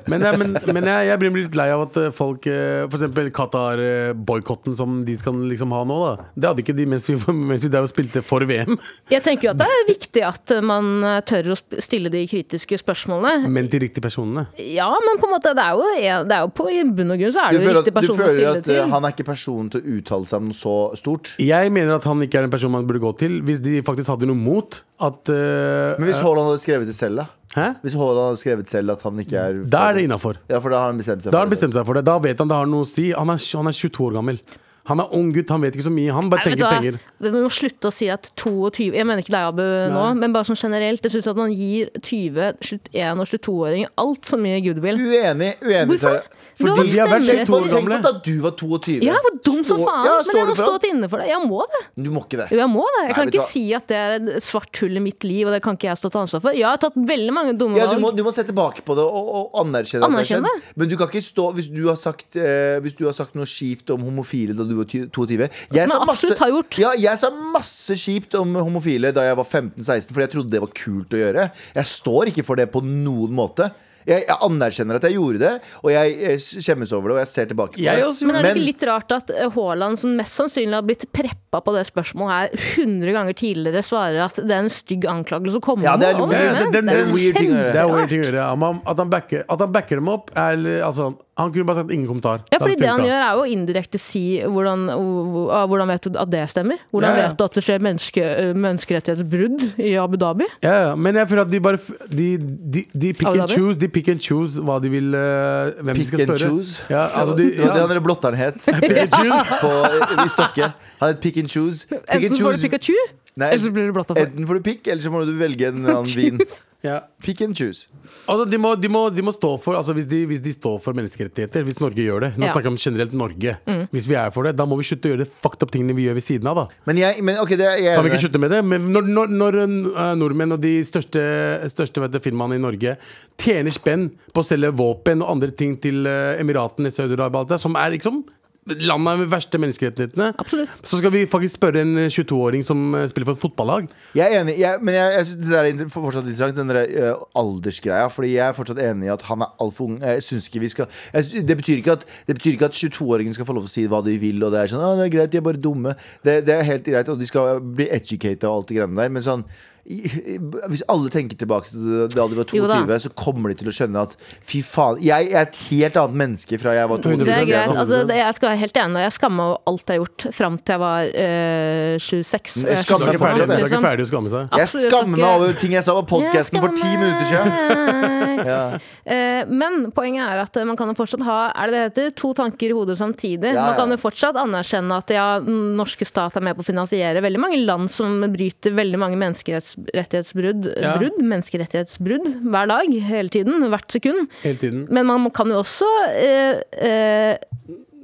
D: Men, det er- men, men jeg, jeg blir litt lei av at eh, folk eh, For eksempel Qatar-boikotten som de skal liksom ha nå, da. Det hadde ikke de mens vi, mens vi der og spilte for VM.
C: Jeg tenker jo at det er viktig at man eh, tør å sp- stille de kritiske spørsmålene.
D: Men til riktige personene.
C: Ja, men på en måte, det er jo, en- det er jo på, i bunn og grunn så er
B: Du
C: det jo
B: føler,
C: riktig
B: at, du
C: person å
B: føler
C: stille
B: at eh,
C: til.
B: han er ikke personen til å uttale seg om noe så stort?
D: Jeg mener at han ikke er en person man burde gå til, hvis de faktisk hadde noe mot at eh,
B: Men hvis Haaland hadde skrevet det selv, da?
D: Hæ?
B: Hvis Haaland hadde skrevet selv at han ikke er
D: Da er det innafor.
B: Ja, for da har han bestemt seg
D: Da har han
B: for det.
D: bestemt seg for det. Da vet han det har noe å si. Han er, han er 22 år gammel. Han er ung gutt, han vet ikke så mye. Han bare
C: Nei, vet du
D: tenker
C: hva?
D: penger.
C: Vi må slutte å si at 22 Jeg mener ikke deg, Abu, nå, men bare sånn generelt. Jeg syns at man gir 20, 21 og 22-åringer altfor mye goodwill.
B: Uenig. uenig
C: Hvorfor?
B: Tara.
C: Du har
D: Fordi vi har vært
C: stemmerett.
D: to år
B: Tenk
D: gamle.
B: på da du var 22.
C: Ja, jeg var dum som
B: Stå-
C: faen,
B: Ja,
C: men jeg
B: står du
C: har
B: for alt?
C: stått inne for det. Jeg må det.
B: Du må ikke det.
C: Jo, jeg må det. Jeg kan
B: vet du
C: ikke
B: hva?
C: si at det er et svart hull i mitt liv, og det kan ikke jeg stå til ansvar for. Jeg har tatt veldig mange dumme
B: Ja,
C: valg.
B: du må, du må se tilbake på det og, og anerkjenne, at det har
C: Anerkjenne?
B: skjedd. Men du kan ikke stå hvis du har sagt, eh, hvis du har sagt noe kjipt om homofile da du var ty- 22. Jeg
C: Som jeg absolutt har gjort.
B: Ja, jeg sa masse kjipt om homofile da jeg var 15-16, fordi jeg trodde det var kult å gjøre. Jeg står ikke for det på noen måte. Jeg, jeg anerkjemmer at jeg gjorde det, og jeg, jeg skjemmes over det. Og jeg ser tilbake på
D: Jeg
B: det.
D: også
C: Men er det
B: Men-
C: ikke litt rart at eh, Haaland, som mest sannsynlig har blitt preppa på det spørsmålet her 100 ganger tidligere, svarer at det er en stygg anklagelse å komme
B: Ja, det er
C: med?
B: lo-
C: Hva mener
D: Ja,
C: du?
D: det- det-
C: Det er
D: det er
B: weird ting å gjøre.
D: Det er
C: kjemperart.
D: weird ting å gjøre. ja. Men At han backer, at han backer dem opp er, altså, Han kunne bare sagt 'ingen kommentar'.
C: Ja, fordi det han
D: funket.
C: gjør er jo å indirekte si hvordan, hvor- ah, hvordan vet du at det stemmer? Hvordan
D: Ja, ja.
C: vet du at det skjer menneske, eh, menneskerettighetsbrudd i Abu Dhabi?
D: Ja, ja, men jeg føler at de bare f- De, de, de, pick,
C: Abu
D: and
C: Dhabi?
D: choose, de pick and choose hva de vil eh, Hvem de
B: Pick
D: skal
B: and
D: spørre.
B: choose.
D: Ja, altså de,
B: Det var det
D: ja.
B: han der blotteren het.
D: Pick and choose.
B: På, I Stokke. Han het Pick and Choose. Pick and
C: Enten får
B: choose-
C: du Pikachu,
B: Nei,
C: eller så blir du blotta for.
B: Enten får du pikk, eller så må du velge en annen vin.
D: Ja.
B: Pick and choose.
D: Altså, de, må, de, må, de må stå for altså, hvis, de, hvis de står for menneskerettigheter, hvis Norge gjør det Nå
C: Ja.
D: snakker jeg om generelt Norge. Hvis vi er for det, da må vi slutte å gjøre de fucked up tingene vi gjør ved siden av. da
B: Men jeg, men, ok, det, jeg er
D: Kan vi
B: enig.
D: ikke slutte med det? Men når, når, når eh, nordmenn og de største, største vet du, firmaene i Norge tjener spenn på å selge våpen og andre ting til eh, Emiratene, Saudi-Arabia, alt det, som er liksom Landet med de verste menneskerettighetene.
C: Absolutt.
D: Så skal vi faktisk spørre en eh, 22-åring som eh, spiller for et fotballag.
B: Jeg er enig, jeg, men jeg, jeg synes det der er inter- fortsatt interessant, den der eh, aldersgreia. Fordi jeg er fortsatt enig i at han er altfor ung. Jeg synes ikke vi skal jeg, sy- Det betyr ikke at, det betyr ikke at 22-åringen skal få lov til å si hva de vil, og det er sånn «Å, det er greit, de er bare dumme. Det, det er helt greit, og de skal bli educata og alt det greiene der, men sånn i- i- hvis alle tenker tilbake til det- da de var
C: Jo da.
B: 22, så kommer de til å skjønne at fy faen, jeg er et helt annet menneske fra jeg var 22.
C: Det er greit.
B: nå.
C: Altså, det, jeg skal være helt enig. Jeg skamma jo alt jeg har gjort fram til jeg var eh, 26.
B: Jeg skammer meg
D: Du er ikke
B: fortsatt,
C: liksom.
D: ferdig, du er
B: jeg.
D: ikke ferdig å skamme seg.
B: Jeg skammer meg over ting jeg sa på podkasten for ti minutter siden.
C: siden.
B: Ja.
C: Eh, Men poenget er at eh, man kan jo fortsatt ha er det det heter, to tanker i hodet samtidig.
B: Ja,
C: Man kan
B: ja.
C: jo fortsatt anerkjenne at ja, den norske stat er med på å finansiere veldig mange land som bryter veldig mange menneskerettighetsbrudd
D: Ja.
C: brudd, menneskerettighetsbrudd hver dag, hele tiden, hvert sekund.
D: Hele tiden.
C: Men man kan jo også eh, eh,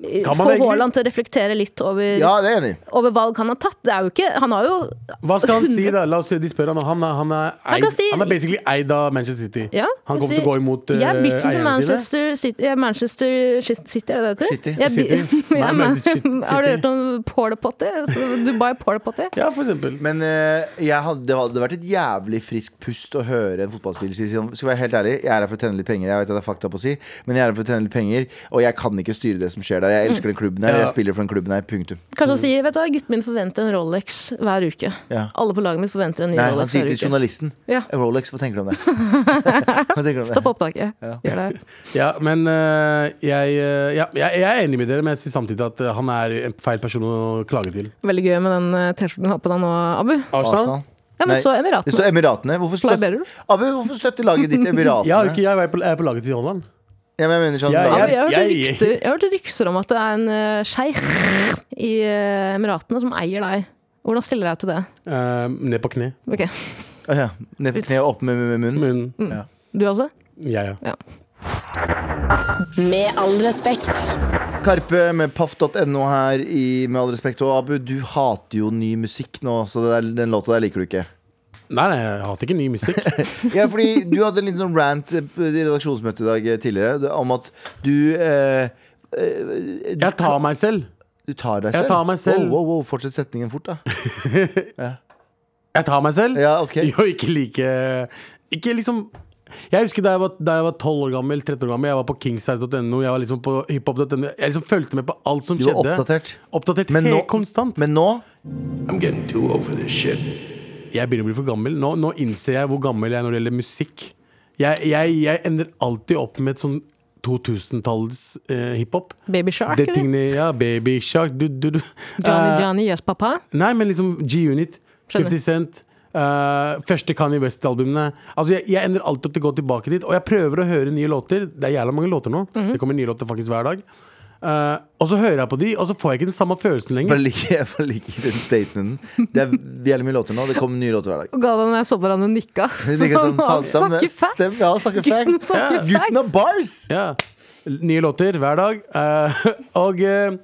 D: Kan man
C: få
D: egentlig?
C: Haaland til å reflektere litt over,
B: Ja, det er jeg enig. i.
C: over valg han har tatt. Det er jo ikke, han har jo
D: Hva skal han si, da? La oss si de spør han. og Han er, han er,
C: kan
D: eid,
C: si-
D: han er basically eid av Manchester City.
C: ja,
D: han
C: og
D: kommer
C: si,
D: til å gå imot eh,
C: Jeg bytter til
D: eierne sine.
C: Manchester City, ja, Manchester Shit- City, er det det heter?
B: City.
C: Jeg
D: City.
C: by- Ja,
D: Nei, Manchester Shit-
C: men- Har du
D: City.
C: hørt om Paul Potty? Så Dubai Paul Potty?
D: Ja, for eksempel.
B: Men eh, jeg hadde, det hadde vært et jævlig friskt pust å høre en fotballspiller si sånn Skal være helt ærlig, jeg er her for å tjene litt penger. Jeg vet at det er fakta på å si, men jeg er her for å tjene litt penger, og jeg kan ikke styre det som skjer der. Jeg elsker den klubben her,
D: Ja.
B: jeg spiller for den klubben her. Punktum.
C: Kanskje han sier vet du hva, gutten min forventer en Rolex hver uke.
B: Ja.
C: Alle på laget mitt forventer en ny
B: Nei, han
C: Rolex
B: sier til
C: hver uke.
B: journalisten Eh,
C: Ja.
B: Rolex, hva tenker du om det? Hva tenker du om det?
C: Stopp opptaket. Gjør det.
D: Ja, men øh, jeg, øh, ja, jeg, jeg er enig med dere, men jeg sier samtidig at øh, han er en feil person å klage til.
C: Veldig gøy med den eh, T-skjorten du har på deg nå, Abu.
D: Arsenal?
B: Arsenal?
C: Ja, men
B: Nei,
C: så
B: Det står
C: Emiratene.
B: Emiratene. Hvorfor støtter,
C: Flybearer.
B: Abu, hvorfor støtter laget ditt Emiratene?
D: Ja, ikke, jeg er på- jeg er på laget til Holland.
B: Ja, men jeg mener sånn
D: Ja,
C: Abu,
B: laget-
C: jeg hørte
D: jeg-
C: rykter, jeg hørte rykter om at det er en uh, sjeik i eh, Emiratene som eier deg. Hvordan stiller jeg deg til det?
D: Eh, ned på kne.
C: Ok,
B: Å ja. Ned på kne og opp med, med munnen.
D: Men
C: Du også?
D: ja, ja.
C: Ja.
H: Med all respekt.
B: Karpe med paff.no her i Med all respekt. Og Abu, du hater jo ny musikk nå, så det der, den låta der liker du ikke.
D: Nei, nei, jeg hater ikke ny musikk.
B: Ja, fordi du hadde en liten sånn rant eh, på- i redaksjonsmøtet i dag eh, tidligere det- om at du eh, eh,
D: Jeg tar meg selv.
B: Du tar deg
D: Jeg
B: selv?
D: tar meg selv.
B: Wow, wow, wow, fortsett setningen fort, da.
D: Jeg tar meg selv.
B: Ja, ok.
D: Jo, ikke like Ikke liksom jeg husker da jeg var, da jeg var 12 år gammel, 13 år gammel, jeg var på kingsize.no, jeg var liksom på hiphop.no. Jeg liksom fulgte med på alt som
B: Du var
D: skjedde.
B: oppdatert.
D: Oppdatert
B: Men
D: helt
B: nå-
D: konstant.
B: Men nå
D: jeg begynner å bli for gammel. Nå, nå innser jeg hvor gammel jeg er når det gjelder musikk. Jeg, jeg, jeg ender alltid opp med et sånn 2000-talls eh, hiphop.
C: Baby Shark,
D: Det
C: eller?
D: tingene, ja, Baby Shark du, du, du.
C: Johnny,
D: Eh,
C: Johnny, yes, pappa.
D: Nei, men liksom G-Unit,
C: Skjønner.
D: 50 Cent eh, Første Kanye West-albumene. Altså, jeg, jeg ender alltid opp til å gå tilbake dit, og jeg prøver å høre nye låter. Det er jævla mange låter nå. Det kommer nye låter faktisk hver dag. Eh, og så hører jeg på de, og så får jeg ikke den samme følelsen lenger.
B: Bare liker, jeg bare liker den statementen. Det er jævlig mye låter nå. Det kommer nye låter hver dag.
C: Og Galvan og jeg så hverandre og nikka.
B: Vi tenker sånn, faen, stemmer,
C: snakker facts!
B: stemmer, ja, snakker
C: Gutten
B: facts.
C: snakker
D: Ja.
B: Gutten har
C: facts.
B: bars!
D: Ja. Nye låter hver dag. Eh, og eh,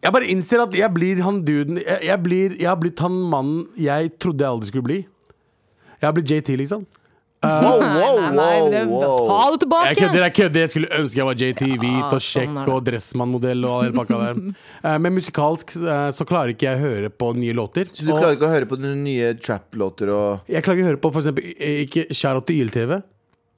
D: jeg bare innser at jeg blir han duden jeg, jeg, blir, jeg har blitt han mannen jeg trodde jeg aldri skulle bli. Jeg har blitt JT, liksom.
B: Wow,
C: Nei,
B: wow,
C: nei, nei,
B: wow,
C: det- Ta
B: wow.
C: det tilbake!
D: Jeg kødder, jeg kødder. Jeg skulle ønske jeg var JT, hvit og
C: sånn
D: kjekk
C: er det.
D: og dressmannmodell og all den pakka der. Eh, men musikalsk eh, så klarer ikke jeg høre på nye låter.
B: Så du klarer ikke å høre på noen nye trap-låter og
D: Jeg klarer ikke å høre på for eksempel eh, ikke Shout out til YLTV,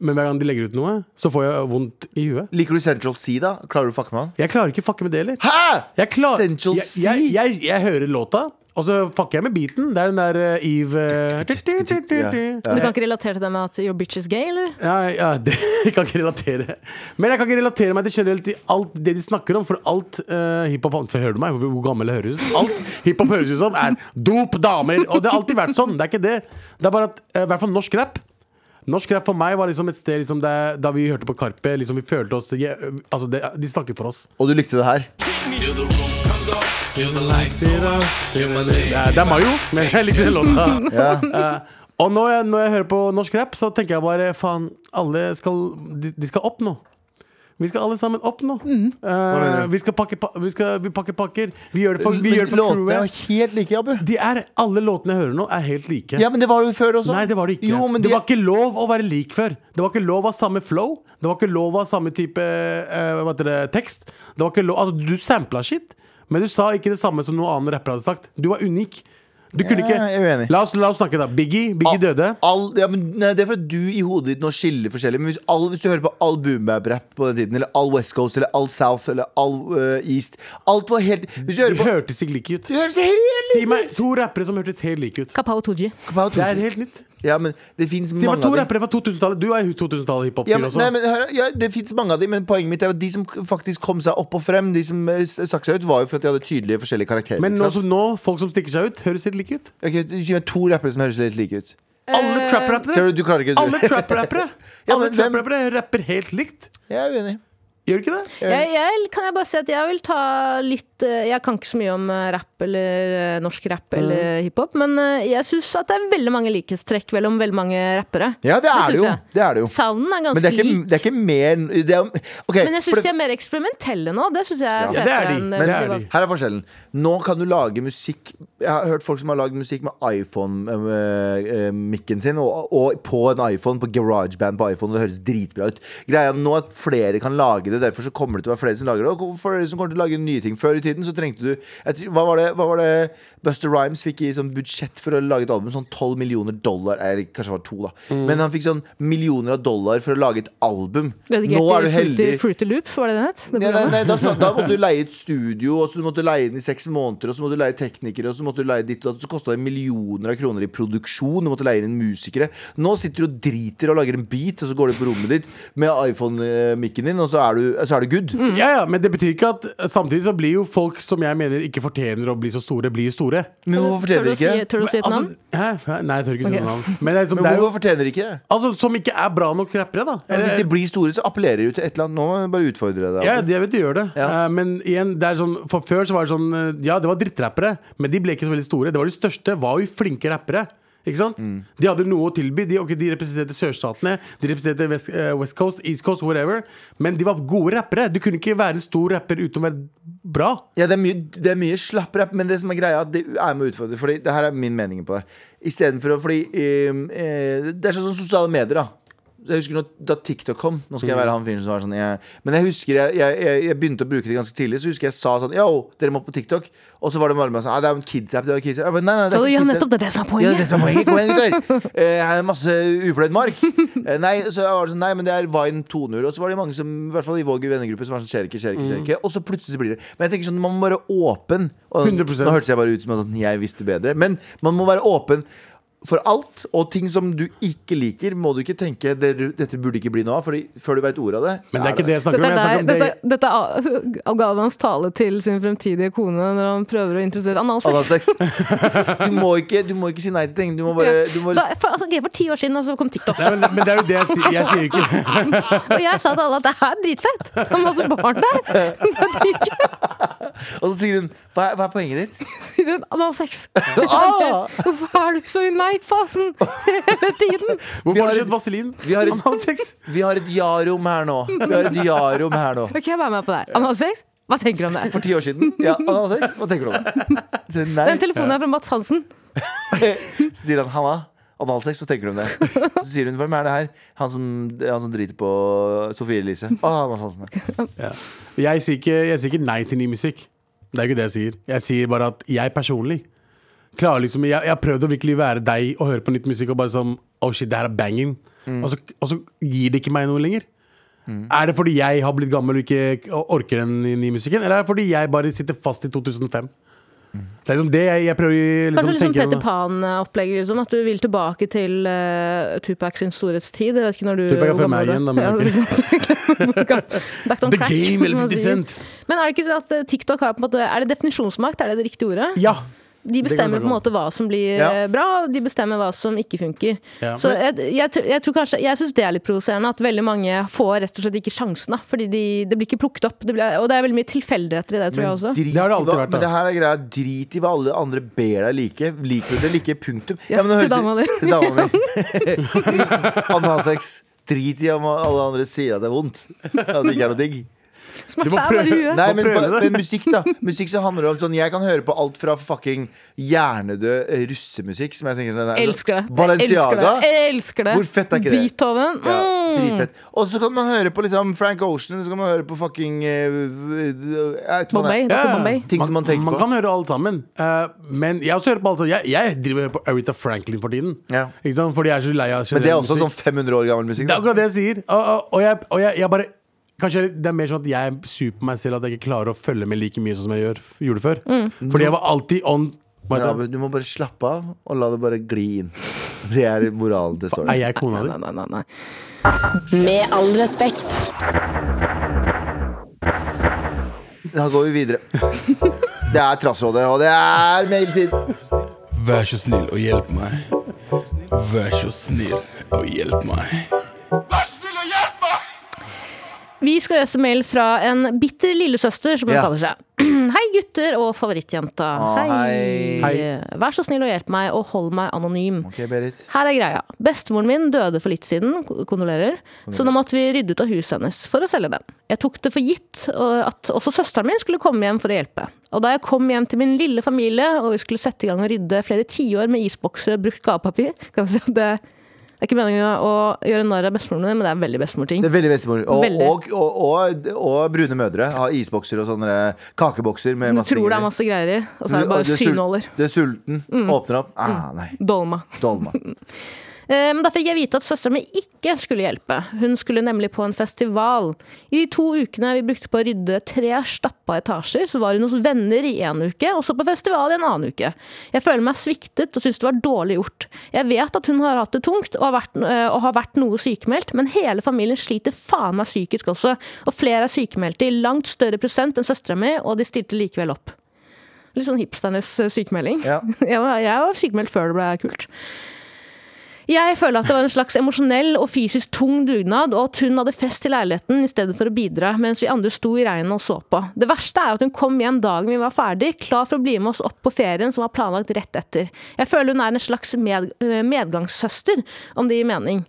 D: men hver gang de legger ut noe, så får jeg vondt i huet.
B: Liker du Central C, da? Klarer du å fucke med han?
D: Jeg klarer ikke å fucke med det heller.
B: Hæ?!
D: Jeg, klar,
B: Central
D: jeg,
B: C?
D: jeg, jeg, jeg hører låta, og så fucker jeg med beaten. Det er den der eh, Eve eh,
C: Du kan ikke relatere til det med at your bitch is gay, eller?
D: ja, ja, det, Jeg kan ikke relatere. Men jeg kan ikke relatere meg til generelt til alt det de snakker om, for alt eh, hiphop for Hører du meg? Hvor hvor gammel jeg høres ut? Alt hiphop høres ut som, er dop, damer. Og det har alltid vært sånn. Det er ikke det. Det er bare at eh, I hvert fall norsk rap. Norsk rap for meg var liksom et sted liksom, der, da vi hørte på Karpe. Liksom, vi følte oss ja, altså, det, De snakker for oss.
B: Og du likte det her?
D: Det er, det er Mayo, men jeg likte den låta.
B: Ja.
D: Eh, og når jeg, når jeg hører på norsk rap, så tenker jeg bare faen, alle skal de, de skal opp nå. Vi skal alle sammen opp nå. Eh,
B: mener du?
D: vi skal pakke pa vi, skal, vi pakker pakker. Vi gjør det for, vi
B: Men
D: gjør det for
B: låtene er
D: crewet.
B: jo helt like, Abu.
D: De er, alle låtene jeg hører nå, er helt like.
B: Ja, men det var det jo før også.
D: Nei, det var det ikke.
B: Jo, men
D: det...
B: de-
D: var ikke lov å være lik før. Det var ikke lov av samme flow. Det var ikke lov av samme type eh, hva heter det, tekst. Det var ikke lov, altså, du sampla shit, men du sa ikke det samme som noen annen rapper hadde sagt. Du var unik. Du kunne
B: Ja,
D: ikke
B: jeg er uenig. Ah,
D: La oss, la oss snakke, da. Biggie, Biggie døde.
B: All, ja, men nei, det er fordi du i hodet ditt nå skiller forskjellig. Men hvis, all, hvis du hører på all boombab-rap på den tiden, eller all West Coast, eller all South, eller all øh, East Alt var helt Hvis du hører
D: De
B: på
D: hørtes ikke like ut.
B: Du høres helt
D: Si meg to rappere som hørtes helt like ut.
C: Kapao Tooji.
B: ut!
D: Det er helt nytt.
B: Ja, men det fins
D: Si meg
B: mange
D: to
B: av dem.
D: rappere fra 2000-tallet. Du er jo 2000-tallet
B: Ja,
D: hiphop-fyr
B: men,
D: også.
B: nei, men, hør, ja, det fins mange av dem, men poenget mitt er at de som faktisk kom seg opp og frem, de som eh, stakk seg ut, var jo for at de hadde tydelige forskjellige karakterer.
D: Men
B: ikke
D: nå,
B: sant?
D: som nå, folk som stikker seg ut, høres helt like ut.
B: Ok, si meg to rappere som høres litt like ut.
D: Alle
B: Ser
D: trap-rappere.
B: du, du klarer ikke
D: Alle
B: du.
D: trap-rappere
B: Ja,
D: Alle
B: men hvem-
D: trap-rappere rapper helt likt.
B: Jeg er uenig.
D: Gjør de ikke det?
C: Jeg, jeg, kan jeg bare si at jeg vil ta litt eh, Jeg kan ikke så mye om eh, rap eller eh, norsk rap eller hiphop, men eh, jeg syns at det er veldig mange likhetstrekk mellom veldig mange rappere.
B: Ja, det er
C: synes
B: det jo.
C: jeg.
B: Det er det jo.
C: Sounden er
B: Men det
C: ganske
B: er ikke,
C: lik.
B: det er ikke mer det er, ok,
C: Men jeg
B: for
C: syns
B: det-
C: de er mer eksperimentelle nå. Det syns jeg er
D: Ja, det er
C: fetere
D: de.
C: enn
D: Men-
C: eh, det
D: det er de.
B: Her er forskjellen. Nå kan du lage musikk Jeg har hørt folk som har lagd musikk med iPhone-mikken sin, og, og på en iPhone, på GarageBand på iPhone, og det høres dritbra ut. Greia nå er at flere kan lage det, derfor så kommer det til å være flere som lager det. Og flere som kommer til å lage nye ting. Før i tiden så trengte du jeg tror- Hva var det, hva var det Buster Rhymes fikk i sånn budsjett for å lage et album? Sånn 12 millioner dollar, eller kanskje det var to, da. Men han fikk sånn millioner av dollar for å lage et album. Nå er du heldig.
C: Fruity Loops, var det det het?
B: Nei,
C: Det
B: nei,
C: programmet?
B: nei, da, snak- da måtte du leie et studio, og så du måtte leie den i seks måneder, og så måtte du leie teknikere, og så måtte du leie ditt og datt. Så kosta det millioner av kroner i produksjon, du måtte leie inn musikere. Nå sitter du og driter og lager en beat, og så går du på rommet ditt med iPhone-mikken din, og så er du, så er du good.
C: Mm.
D: Ja, ja, Men det betyr ikke at samtidig så blir jo folk som jeg mener ikke fortjener å bli så store, blir store.
B: Men hvorfor
C: Tør du
B: fortjener
C: å
B: de ikke
C: si-
B: det?
C: Tør du å si et
D: Altså,
C: navn?
D: hæ? Nei, jeg tør ikke si
C: Ok.
D: noe navn. Men, det er liksom,
B: Men
D: det er jo,
B: hvorfor fortjener de ikke det?
D: altså, som ikke er bra nok rappere, da.
B: Men Hvis
D: Eller-
B: de blir store, så appellerer de til et eller annet. Nå må jeg bare utfordre deg.
D: Ja, jeg vet de gjør det.
B: Ja.
D: Eh, men igjen, det er sånn, for før så var det sånn eh, Ja, det var drittrappere, men de ble ikke så veldig store. Det var De største var jo flinke rappere. Ikke sant?
B: Mm.
D: De hadde noe å tilby. De, ok, de representerte sørstatene, de representerte West, eh, West Coast, East Coast, whatever. Men de var gode rappere. Du kunne ikke være en stor rapper uten å være bra.
B: Ja, det er mye, det er mye slapprap, men det som er greia, det er med å utfordre. Fordi det her er min mening på det. Istedenfor å Fordi ehm, eh, det er sånn som sosiale medier, da. Jeg husker når, da TikTok kom. Nå skal jeg være han fyren som var sånn jeg, Men jeg husker jeg, jeg, jeg, jeg begynte å bruke det ganske tidlig. Så husker jeg sa sånn Yo, dere må på TikTok. Og så var det bare meg sånn «Ah, Det er jo en kidsapp. Det er jo en kidsapp. Jeg bare, Nei, nei, det er
C: Så
B: ikke
C: ja,
B: en kidsapp.»
C: nettopp Altså, det er det som er
B: Ja, det er
C: poenget.
B: det som er poenget. Kom igjen, gutter. Eh, Her er masse upløyd mark. Eh, Nei, så var det sånn, nei, men det er Vine 2.0. Og så var det mange som, i hvert fall i vår vennegruppe, som var sånn skjer ikke, skjer ikke, skjer ikke. Og så plutselig så blir det Men jeg tenker sånn, man må være åpen. Og,
D: 100%.
B: Nå hørtes jeg bare ut som at jeg visste bedre, men man må være åpen. for alt, og ting som du ikke liker, må du ikke tenke "Det- dette burde ikke bli noe av, Fordi før du veit ordet av det. så
D: Men det er ikke det jeg snakker
C: Dette er,
D: om. Jeg snakker
C: der,
D: om det
C: dette, dette er Al- Galvans tale til sin fremtidige kone når han prøver å introdusere analsex.
B: Analsex. Du må ikke, du må ikke si nei til ting. Du må bare, du må
C: Da, for, altså, ok, for ti år siden og så kom TikTok,
D: Nei, men, men det er jo det jeg sier. Jeg sier ikke
C: og jeg sa til alle at det her er dritfett! Det er masse barn der! Det er dritkult.
B: Og så sier hun Hva er, hva er poenget ditt?
C: Sier hun, Analsex.
B: Ah!
C: Hvorfor er du så i nei-fasen hele tiden?
D: Hvorfor har
B: har et-
D: du kjøpt vaselin?
B: Vi har et,
D: Analsex?
B: vi har et ja-rom her nå. Vi har et ja-rom her nå.
C: Ok, jeg være med på det her. Analsex? Hva tenker du om det?
B: For ti år siden. Ja, analsex. Hva tenker du om det? Så nei.
C: Den telefonen er fra Mats Hansen.
B: Så sier han Hanna, analsex, hva tenker du om det? Så sier hun, hvem er det her? Han som, han som driter på Sofie Elise. Å, Hanna Hansen.
D: Jeg sier, ikke, jeg sier ikke nei til ny musikk. Det er ikke det jeg sier. Jeg sier bare at jeg personlig klarer liksom Jeg jeg har prøvd å virkelig være deg og høre på nytt musikk og bare sånn Oh shit, det her er banging. Og, så, og så gir det ikke meg noe lenger. Er det fordi jeg har blitt gammel og ikke og orker den nye- nye musikken, eller er det fordi jeg bare sitter fast i 2005? Det er liksom det jeg, jeg prøver å liksom,
C: Kanskje litt sånn
D: tenke
C: Peter Pan-opplegget, liksom, at du vil tilbake til eh, Tupac sin storhetstid. Jeg vet ikke når du
D: Tupac er fra meg
C: du
D: igjen, da, men
C: Ja,
D: ok.
C: ikke sant. Back on
D: The
C: crack,
D: game,
C: som man
D: 50
C: sier.
D: cent.
C: Men er det ikke sånn at eh, TikTok har på en måte Er det definisjonsmakt? Er det det riktige ordet?
D: Ja.
C: De
D: det kan
C: bestemmer
D: jeg
C: på en
D: snakke
C: måte hva som blir
B: Ja.
C: eh, bra, og de bestemmer hva som ikke funker.
D: Ja.
C: Så jeg, jeg, tr- jeg tror kanskje Jeg syns det er litt provoserende at veldig mange får rett og slett ikke sjansen, da, fordi de, det blir ikke plukket opp. Det blir, og det er veldig mye tilfeldigheter i det, tror jeg også.
B: drit,
D: Det har
B: i
D: det alltid
B: hva-
D: vært, da.
B: Men det her er greia, drit i hva alle andre ber deg like. Liker du det like, punktum.
C: Ja,
B: men det
C: til
B: høres-
C: dama di.
B: Til dama mi. Analsex. Drit i om alle andre sier at det er vondt. At det ikke er noe digg.
D: Du
C: Smerte
D: må
C: er bare huet.
D: prøve.
B: Nei,
D: Må
B: men,
D: prøve
B: ba-
D: det.
B: men musikk, da. Musikk så handler det om sånn Jeg kan høre på alt fra fucking hjernedød eh, russemusikk, som jeg tenker sånn nei,
C: Elsker det.
B: Balenciaga.
C: Elsker det. Elsker det.
B: Hvor fett er ikke det?
C: Beethoven.
B: Ja,
C: Mm.
B: dritfett. Og så kan man høre på liksom Frank Ocean, eller så kan man høre på fucking eh, jeg vet hva det
C: Bombay.
B: Sånn er.
C: Dr.
D: Ja.
C: Bombay.
B: Ting som man tenker på.
D: kan høre alt sammen. Eh, men jeg også hører på alt sammen. Jeg, jeg driver og hører på Aretha Franklin for tiden.
B: Ja.
D: Ikke sant? Fordi jeg er så lei av
B: Men det er
D: generell
B: også
D: musikk.
B: sånn 500 år gammel musikk.
D: Det er
B: Da.
D: akkurat det jeg sier. Og, og, og, jeg, og jeg, jeg bare Kanskje det er mer sånn at jeg er sur på meg selv at jeg ikke klarer å følge med like mye sånn som jeg gjør, gjorde før. Fordi jeg var alltid on hva
B: Ja,
D: heter det?
B: men du må bare slappe av og la det bare gli inn. Det er moralen til
D: Er
B: storyen.
D: jeg kona di?
C: Nei, nei, nei, nei.
H: Med all respekt.
B: Da går vi videre. Det er Trassrådet, og det er mailtid.
I: Vær så snill og hjelp meg. Vær så snill og hjelp meg.
C: Vi skal lese mail fra en bitter lillesøster, som hun
B: Ja.
C: kaller seg. Hei, gutter og favorittjenta.
B: Å,
D: hei.
C: Vær så snill og hjelp meg, og hold meg anonym.
B: Ok, Berit.
C: Her er greia. Bestemoren min døde for litt siden, ko- kondolerer. Så nå måtte vi rydde ut av huset hennes for å selge det. Jeg tok det for gitt og at også søsteren min skulle komme hjem for å hjelpe. Og da jeg kom hjem til min lille familie, og vi skulle sette i gang og rydde flere tiår med isbokser og brukt gavepapir kan vi si at det, det er ikke meningen å gjøre narr av bestemoren min, men det er veldig bestemorsting.
B: Det er veldig bestemor. Og,
C: Veldig.
B: og, og, og, og brune mødre har isbokser og sånne kakebokser med
C: Du
B: masse ting
C: tror
B: i.
C: det er masse greier i, og så er
B: du-
C: det bare
B: du sul-
C: synåler. Mm.
B: Du er sulten, åpner opp. Ah, nei.
C: Dolma.
B: Dolma.
C: Eh, Men da fikk jeg vite at søsteren min ikke skulle hjelpe. Hun skulle nemlig på en festival. I de to ukene vi brukte på å rydde tre stappa etasjer, så var hun hos venner i en uke, og så på festival i en annen uke. Jeg føler meg sviktet og syns det var dårlig gjort. Jeg vet at hun har hatt det tungt og har vært, eh, og har vært noe sykemeldt, men hele familien sliter faen meg psykisk også, og flere er sykemeldte i langt større prosent enn søstera mi, og de stilte likevel opp. Litt sånn hipsternes eh, sykemelding.
B: Ja.
C: Jeg var, jeg var sykemeldt før det ble kult. Jeg føler at det var en slags emosjonell og fysisk tung dugnad, og at hun hadde fest til leiligheten i stedet for å bidra, mens vi andre sto i regnet og så på. Det verste er at hun kom hjem dagen vi var ferdig, klar for å bli med oss opp på ferien som var planlagt rett etter. Jeg føler hun er en slags med, eh, medgangssøster, om det gir mening.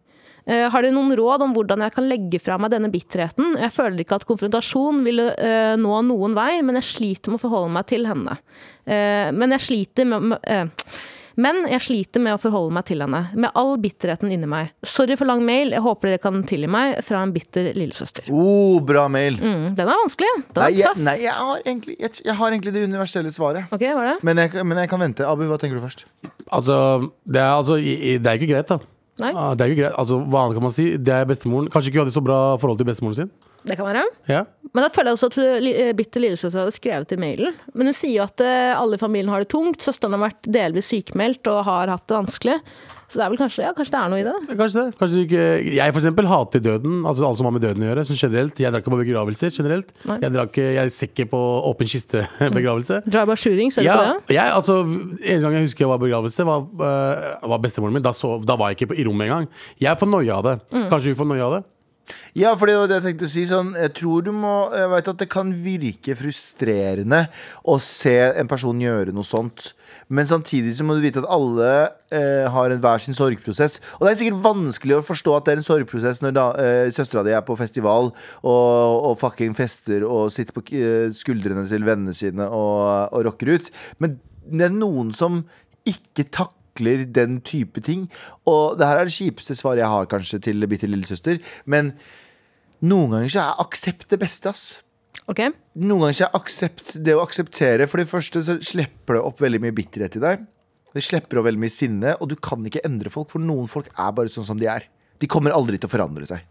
C: Eh, har dere noen råd om hvordan jeg kan legge fra meg denne bitterheten? Jeg føler ikke at konfrontasjon ville eh, nå noen vei, men jeg sliter med å forholde meg til henne. Eh, men jeg sliter med, med eh, men jeg sliter med å forholde meg til henne, med all bitterheten inni meg. Sorry for lang mail, jeg håper dere kan tilgi meg, fra en bitter lillesøster.
B: Oh, bra mail.
C: Mm, den er vanskelig. Den
B: Nei,
C: er
B: jeg,
C: tøff.
B: nei jeg, har egentlig, jeg, jeg har egentlig det universelle svaret.
C: Ok, var det?
B: Men jeg, men jeg kan vente. Abu, hva tenker du først?
D: Altså, det er, altså, i- i- det er ikke greit, da.
C: Nei,
D: Ah, Det er ikke greit. Altså, hva annet kan man si? Det er bestemoren. Kanskje ikke hun hadde så bra forhold til bestemoren sin.
C: det kan være.
D: Ja.
C: Men da føler jeg også at eh, li- eh, bitte lillesøster hadde skrevet i mailen. Men hun sier jo at eh, alle i familien har det tungt. Søsteren har vært delvis sykemeldt og har hatt det vanskelig. Så det er vel kanskje, ja, kanskje det er noe i det. da.
D: Kanskje det. Kanskje du ikke Jeg for eksempel hater døden. Altså alt som har med døden å gjøre. Så generelt, Jeg drar ikke på begravelser generelt.
C: Nei.
D: Jeg drar ikke Jeg ser ikke på åpen kiste-begravelse.
C: Drive-by shooting, ser du
D: Ja,
C: på det?
D: jeg, altså, en gang jeg husker jeg var i begravelse, var, eh, var bestemoren min. Da, sov- da var jeg ikke på, i rommet engang. Jeg får noia av det.
C: Mm.
D: Kanskje hun får noia av det?
B: Ja, for det var det jeg tenkte å si. Sånn, jeg tror du må Jeg vet at det kan virke frustrerende å se en person gjøre noe sånt. Men samtidig så må du vite at alle eh, har en hver sin sorgprosess. Og det er sikkert vanskelig å forstå at det er en sorgprosess når da, eh, søstera di er på festival og, og fucking fester og sitter på eh, skuldrene til vennene sine og, og rocker ut. Men det er noen som ikke takler takler den type ting. Og det her er det kjipeste svaret jeg har kanskje til bitte lillesøster. Men noen ganger så er aksept det beste, ass.
C: Ok.
B: Noen ganger så er aksept det å akseptere. For det første så slipper det opp veldig mye bitterhet i deg. Det slipper opp veldig mye sinne, og du kan ikke endre folk, for noen folk er bare sånn som de er. De kommer aldri til å forandre seg.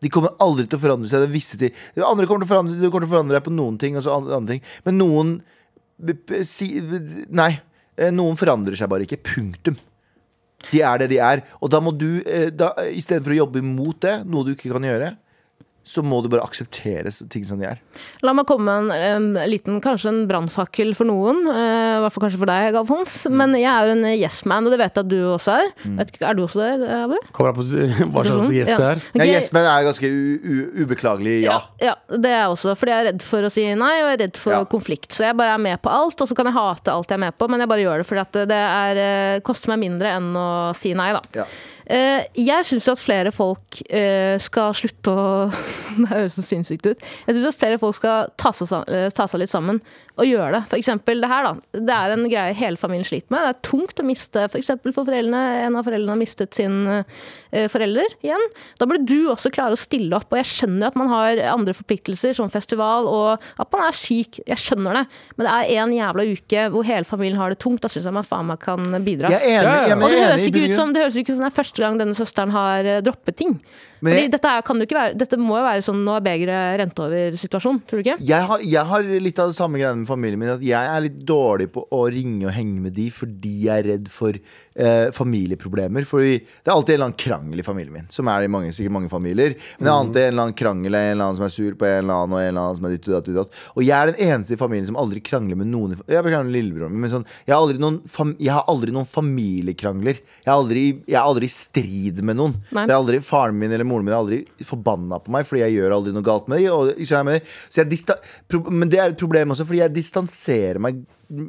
B: De kommer aldri til å forandre seg. Det visste de. Andre kommer til å forandre, du kommer til å forandre deg på noen ting, og så andre, andre ting. Men noen b- b- si, b- Nei. eh, Noen forandrer seg bare ikke. Punktum. De er det de er. Og da må du, eh, da, istedenfor å jobbe imot det, noe du ikke kan gjøre, så må du bare akseptere s- ting som de er.
C: La meg komme med en, em, liten, kanskje en brannfakkel for noen. eh, I hvert fall kanskje for deg, Galfons. Men jeg er jo en eh, yes man, og det vet jeg at du også er. Vet ikke, er du også det, Abu?
D: Kommer an på s-
C: Mhm.
D: hva slags gjest det er.
B: Ja, yes, men det er ganske u u ubeklagelig, ja.
C: Ja. ja, det er jeg også. Fordi jeg er redd for å si nei, og jeg er redd for
B: Ja.
C: konflikt. Så jeg bare er med på alt, og så kan jeg hate alt jeg er med på, men jeg bare gjør det fordi at det er, eh, koster meg mindre enn å si nei, da.
B: Ja.
C: Eh, jeg syns at flere folk eh, skal slutte å Det høres så sinnssykt ut. Jeg syns at flere folk skal ta seg, sa- eh, ta seg litt sammen og gjøre det. For eksempel det her, da. Det er en greie hele familien sliter med. Det er tungt å miste for eksempel for foreldrene. En av foreldrene har mistet sin eh, forelder igjen. Da burde du også klare å stille opp. Og jeg skjønner at man har andre forpliktelser, som festival, og at man er syk. Jeg skjønner det. Men det er en jævla uke hvor hele familien har det tungt. Da syns jeg man faen meg kan bidra.
B: Jeg er enig.
D: Ja, ja.
B: Ja, men
C: Og det
B: jeg er
C: høres
B: enig i
C: ikke ut
B: bunn-
C: som det høres ikke ut som det er første gang denne søsteren har eh, droppet ting.
B: Men
C: Fordi
B: jeg-
C: dette, er, kan det jo ikke være, dette må jo være sånn nå er begeret rent over-situasjon, tror du ikke?
B: jeg har, jeg har litt av det samme greiene med familien min. At jeg er litt dårlig på å ringe og henge med de fordi jeg er redd for eh, familieproblemer. Fordi det er alltid en eller annen krangel i familien min, som er det i mange, sikkert mange familier. Men det er alltid en eller annen krangel, en eller annen som er sur på en eller annen, og en eller annen som er ditt og datt og ditt og datt. Og jeg er den eneste i familien som aldri krangler med noen. i fa- Jeg krangler med lillebroren min, men sånn, jeg har aldri noen, fam jeg har aldri noen familiekrangler. Jeg er aldri, jeg er aldri i strid med noen.
C: Nei.
B: Det er aldri Faren min eller moren min er aldri forbanna på meg, fordi jeg gjør aldri noe galt med dem. Og, skjønner jeg hva jeg mener? så jeg dista pro men det er et problem også, fordi jeg distanserer meg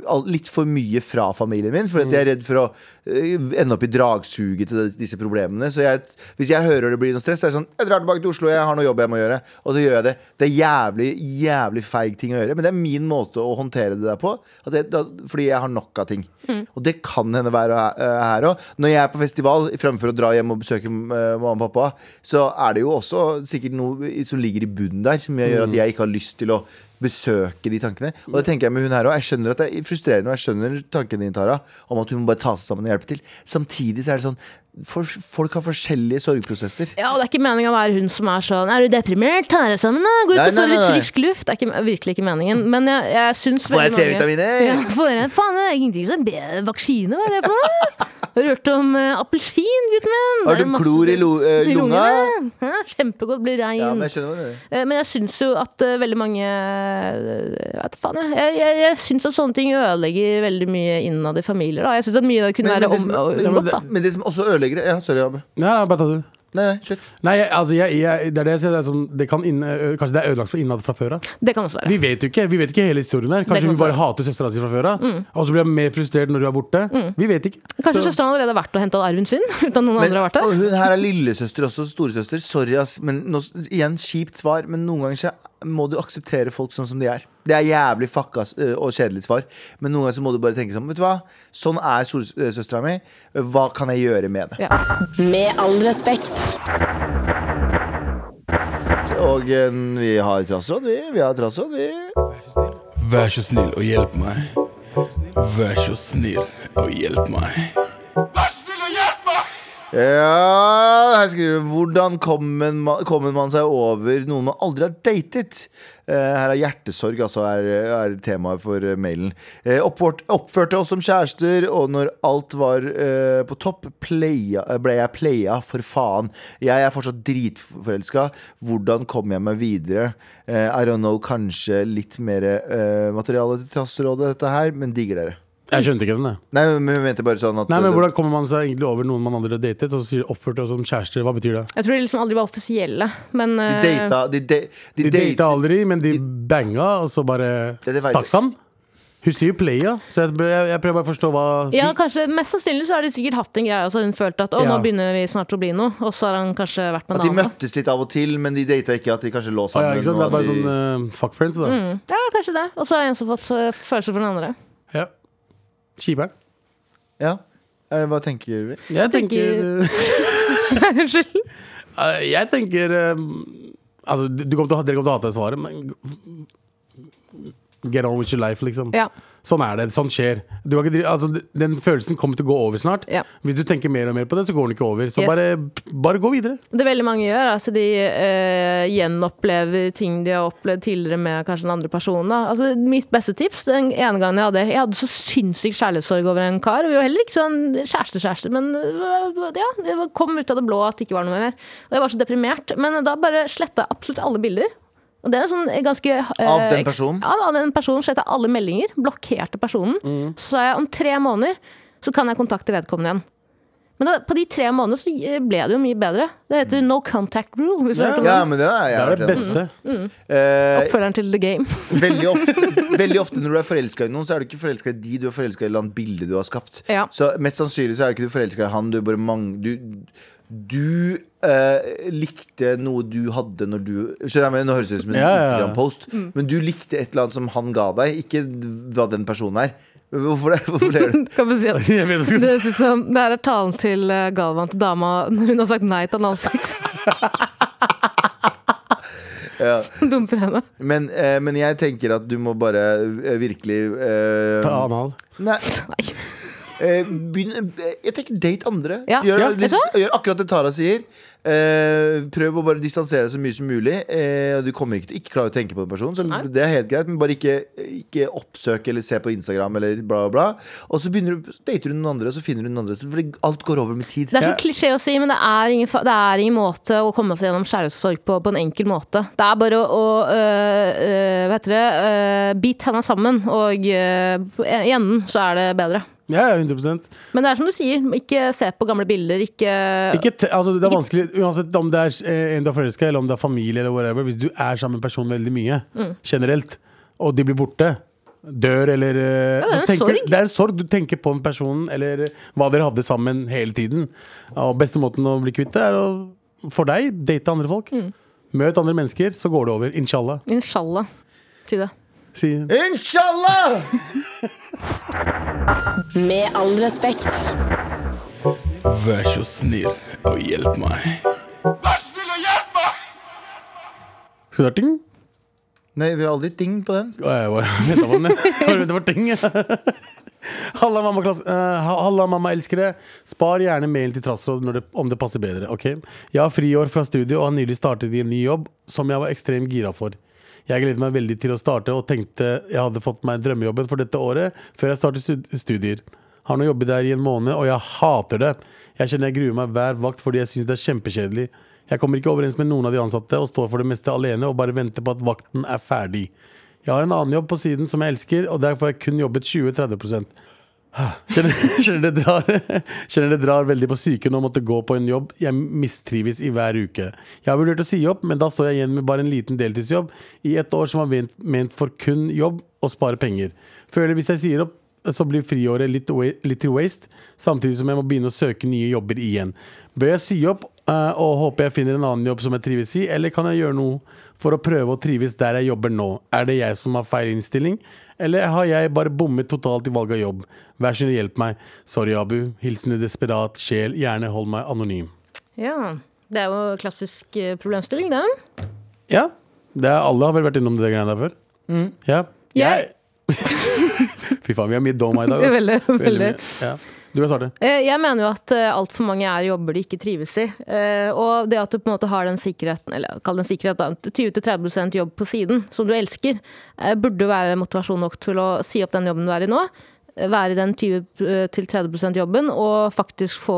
B: all- litt for mye fra familien min. Fordi at jeg er redd for å øh, ende opp i dragsuget til disse problemene. Så jeg, hvis jeg hører det blir noe stress, så er det sånn Jeg drar tilbake til Oslo, jeg har noe jobb jeg må gjøre. Og så gjør jeg det. Det er jævlig, jævlig feig ting å gjøre, men det er min måte å håndtere det der på. At jeg, da, fordi jeg har nok av ting. Og det kan hende være eh, her òg. Når jeg er på festival, fremfor å dra hjem og besøke eh, mamma og pappa, så er det jo også sikkert noe i- som ligger i bunnen der, som gjør at jeg ikke har lyst til å besøke de tankene. Og det tenker jeg med hun her òg. Jeg skjønner at det er frustrerende, og jeg skjønner tanken din, Tara, om at hun må bare ta seg sammen og hjelpe til. Samtidig så er det sånn for, Folk har forskjellige sorgprosesser.
C: Ja, og det er ikke meningen å være hun som er sånn Er du deprimert? Ta deg sammen, da! Gå ut
B: Nei,
C: og få
B: nei, nei,
C: litt
B: nei.
C: frisk luft! Det er ikke, virkelig ikke meningen. Men jeg, jeg syns
B: Får jeg
C: veldig mange-
B: C-vitaminer?
C: Ja, får jeg, faen, det er ingenting som bedre Vaksine, hva er det for noe? Har du hørt om eh, appelsin, gutten min?
B: Har
C: Det er
B: du
C: masse-
B: klor i lo- eh,
C: i
B: lunga?
C: lungene. Ja, Kjempegodt, blir rein.
B: Ja, men jeg skjønner hva du mener.
C: Eh, Men jeg syns jo at eh, veldig mange eh, vet du faen, jeg, jeg, jeg, jeg syns at sånne ting ødelegger veldig mye innad i familier. Da. Jeg syns at mye av det kunne
B: Men, men,
C: være
B: det
C: om,
B: som, men,
C: unngått.
B: det,
C: Da.
B: men det som også ødelegger det Ja, sorry, Abu.
D: Nei, nei, bare ta det.
B: Nei, nei, kjør.
D: Nei, jeg, altså, jeg, jeg, det er det jeg sier. Det er som, det kan inn, ø, kanskje det er ødelagt fra innad fra før av.
C: Det kan også være.
D: Vi vet jo ikke vi vet ikke hele historien her.
C: Det
D: Kanskje
C: kan Mm.
D: hun bare
C: være.
D: hater søstera si fra før av. Og så blir hun mer frustrert når hun er borte.
C: Mm.
D: Vi vet ikke.
C: Kanskje søsteren allerede har vært og henta arven sin? Uten at noen
B: Men-
C: andre har vært
B: Og
C: der?
B: hun her er lillesøster også, storesøster. Sorry, ass. Men nå, igjen, kjipt svar, men noen ganger så må du akseptere folk sånn som de er. Det er jævlig fucka s- og kjedelig svar, men noen ganger så må du bare tenke sånn, vet du hva, sånn er storesøstera mi, hva kan jeg gjøre med det?
C: Ja.
H: Med all respekt.
B: Og eh, vi har trassråd, vi. Vi har trassråd, vi.
I: Vær så snill og hjelp meg. Vær så snill og hjelp meg. Vær snill og hjelp meg!
B: Ja, her skriver du Hvordan kommer man, kommer man seg over noen man aldri har datet? Eh, Her er hjertesorg, altså, er, er temaet for eh, mailen. Eh, Oppvårt, oppførte oss som kjærester, og når alt var eh, på topp, playa, eh, ble jeg playa for faen. Jeg er fortsatt dritforelska. Hvordan kommer jeg meg videre? Eh, I don't know, kanskje litt mer eh, materiale til Trassrådet, dette her, men digger dere.
D: Jeg skjønte ikke den, jeg.
B: Nei, men vi mente bare sånn at
D: Nei, men Hvordan kommer man seg egentlig over noen man aldri har datet? Og så sier oppførte oss som kjærester, hva betyr det?
C: Jeg tror de liksom aldri var offisielle, men
B: De
C: eh,
B: data De, de, de,
D: De data aldri, men de banga, og så bare
B: Det- det vet
D: stakk
B: jeg.
D: han. Hun sier jo playa, så jeg, jeg, jeg prøver bare å forstå hva
C: ja, kanskje, Mest sannsynlig så har de sikkert hatt en greie. Altså hun følte at å, nå
D: Ja.
C: begynner vi snart å bli noe, og så har han kanskje vært med
B: At de
C: en annen. da.
B: møttes litt av og til, men de data ikke at de kanskje lå
D: Å,
B: sammen.
D: ja, ikke sant?
B: og
D: Det er bare
B: at de-
D: sånn eh, fuck friends, da.
C: Mm. Ja, kanskje det. Og så har en som fått eh, følelser for den andre.
D: Ja. Kjiperen.
B: ja. Eh, Hva tenker vi?
D: Jeg tenker
C: tenker-
D: eh,
C: Unnskyld.
D: Eh, Jeg tenker eh, Altså, du du kommer til, å ha- dere kommer til å hate det svaret, men Get on with your life, liksom.
C: Ja.
D: Sånn er det. Sånn skjer. Du kan ikke, drive- altså, den følelsen kommer til å gå over snart.
C: Ja.
D: Hvis du tenker mer og mer på det, så går den ikke over. Så
C: Yes.
D: bare, bare gå videre.
C: Det veldig mange gjør, altså de eh, gjenopplever ting de har opplevd tidligere med kanskje den andre personen. Da. Altså, mitt beste tips den ene gangen jeg hadde Jeg hadde så sinnssykt kjærlighetssorg over en kar. Vi var heller ikke sånn kjæreste-kjæreste, men øh, ja, det var- kom ut av det blå at det ikke var noe mer. Og jeg var så deprimert. Men da bare sletta jeg absolutt alle bilder. Og det er en sånn ganske eh,
B: Av den
C: eks-
B: personen?
C: Ja, av den personen sletta jeg alle meldinger. Blokkerte personen.
B: Mm.
C: Så sa jeg om tre måneder så kan jeg kontakte vedkommende igjen. Men da, på de tre månedene så eh, ble det jo mye bedre. Det heter no contact rule. Hvis du har hørt om
B: Ja,
C: den.
B: men det er jeg
D: Det er det
B: vært enig i.
D: beste.
B: Eh,
C: Oppfølgeren til The Game.
B: veldig, ofte, veldig ofte når du er forelska i noen, så er du ikke forelska i de, du er forelska i et eller annet bilde du har skapt.
C: Ja.
B: Så mest sannsynlig så er ikke du forelska i han, du bare mang... Du, du eh, likte noe du hadde når du Skjønner jeg, men Nå høres det ut som en
D: Ja, ja, ja.
B: Instagram-post, men du likte et eller annet som han ga deg, ikke hva den personen er. Hvorfor det? Hvorfor ler du?
C: Kan vi si det?
D: Jeg vet du
C: Det
D: skal si.
C: høres ut som det her er talen til eh, Galvan til dama når hun har sagt nei til analsex. Dumper henne.
B: Men, eh, men jeg tenker at du må bare eh, virkelig eh,
D: Ta anal.
B: Nei.
C: Nei.
B: Eh, begynn, eh, jeg tenker date andre.
C: Ja,
B: Gjør,
C: ja,
B: litt,
C: vet du
B: gjør akkurat det Tara sier. Eh, prøv å bare distansere deg så mye som mulig. Eh, og du kommer ikke til ikke klare å tenke på den personen, så
C: Nei.
B: det er helt greit. Men bare ikke, ikke oppsøk eller se på Instagram eller bla, bla, bla. Og så begynner du, så dater du noen andre, og så finner du noen andre. Så fordi alt går over med tid.
C: Det er så klisjé å si, men det er ingen, fa- det er ingen måte å komme seg gjennom kjærlighetssorg på på en enkel måte. Det er bare å, å øh, øh, hva heter det, øh, bit henda sammen, og øh, i enden så er det bedre.
D: Ja, ja, 100
C: Men det er som du sier, ikke se på gamle bilder, ikke,
D: ikke te, altså, Det er vanskelig uansett om det er eh, en du er forelska eller om det er familie. eller whatever Hvis du er sammen med en person veldig mye,
C: Mm.
D: generelt, og de blir borte, dør eller
C: det
D: eh,
C: er
D: så
C: en
D: tenker,
C: sorg.
D: Det er en sorg. Du tenker på en person eller eh, hva dere hadde sammen hele tiden. Og beste måten å bli kvitt det, er å for deg date andre folk.
C: Mm.
D: Møt andre mennesker, så går det over. Inshallah.
C: Inshallah. Si det.
D: Si,
B: Inshallah!
H: Med all respekt.
I: Vær så snill og hjelp meg.
D: skal du ha ting?
B: Nei, vi har aldri ting på den.
D: Å, jeg var- jeg ventet på den. Jeg var- Det var ting. Halla, mamma, klass- eh, ha- halla, mamma elskere. Spar gjerne mailen til Trassråd når det, om det passer bedre. ok? Jeg har friår fra studiet og har nylig startet i en ny jobb som jeg var ekstremt gira for. Jeg gledet meg veldig til å starte og tenkte jeg hadde fått meg drømmejobben for dette året før jeg startet stud studier. Har nå jobbet der i en måned, og jeg hater det. Jeg kjenner jeg gruer meg hver vakt fordi jeg syns det er kjempekjedelig. Jeg kommer ikke overens med noen av de ansatte og står for det meste alene og bare venter på at vakten er ferdig. Jeg har en annen jobb på siden som jeg elsker, og der får jeg kun jobbet 20-30 Kjenner, kjenner, det drar, kjenner det drar veldig på psyken å måtte gå på en jobb jeg mistrives i hver uke. Jeg har vurdert å si opp, men da står jeg igjen med bare en liten deltidsjobb i et år som er ment, ment for kun jobb og spare penger. Føler hvis jeg sier opp, så blir friåret litt, wa- litt til waste, samtidig som jeg må begynne å søke nye jobber igjen. Bør jeg si opp eh, og håper jeg finner en annen jobb som jeg trives i, eller kan jeg gjøre noe for å prøve å trives der jeg jobber nå? Er det jeg som har feil innstilling, eller har jeg bare bommet totalt i valg av jobb? Vær snill, hjelp meg. Sorry, Abu. Hilsen en desperat sjel. Gjerne hold meg anonym.
C: Ja. Det er jo klassisk eh, problemstilling, det.
D: Ja, det er, alle har vel vært innom det greiene der før? Ja.
C: Mm. Jeg-
D: Fy faen, vi har mye doma i dag. ass.
C: Veldig, veldig.
D: mye. Ja. Du kan starte.
C: Eh, Jeg mener jo at eh, altfor mange er i jobber de ikke trives i. Eh, Og det at du på en måte har den sikkerheten, eller kall det en sikkerhet, da, 20-30 jobb på siden som du elsker, eh, burde være motivasjon nok til å si opp den jobben du er i nå. eh, Være i den 20-30 jobben og faktisk få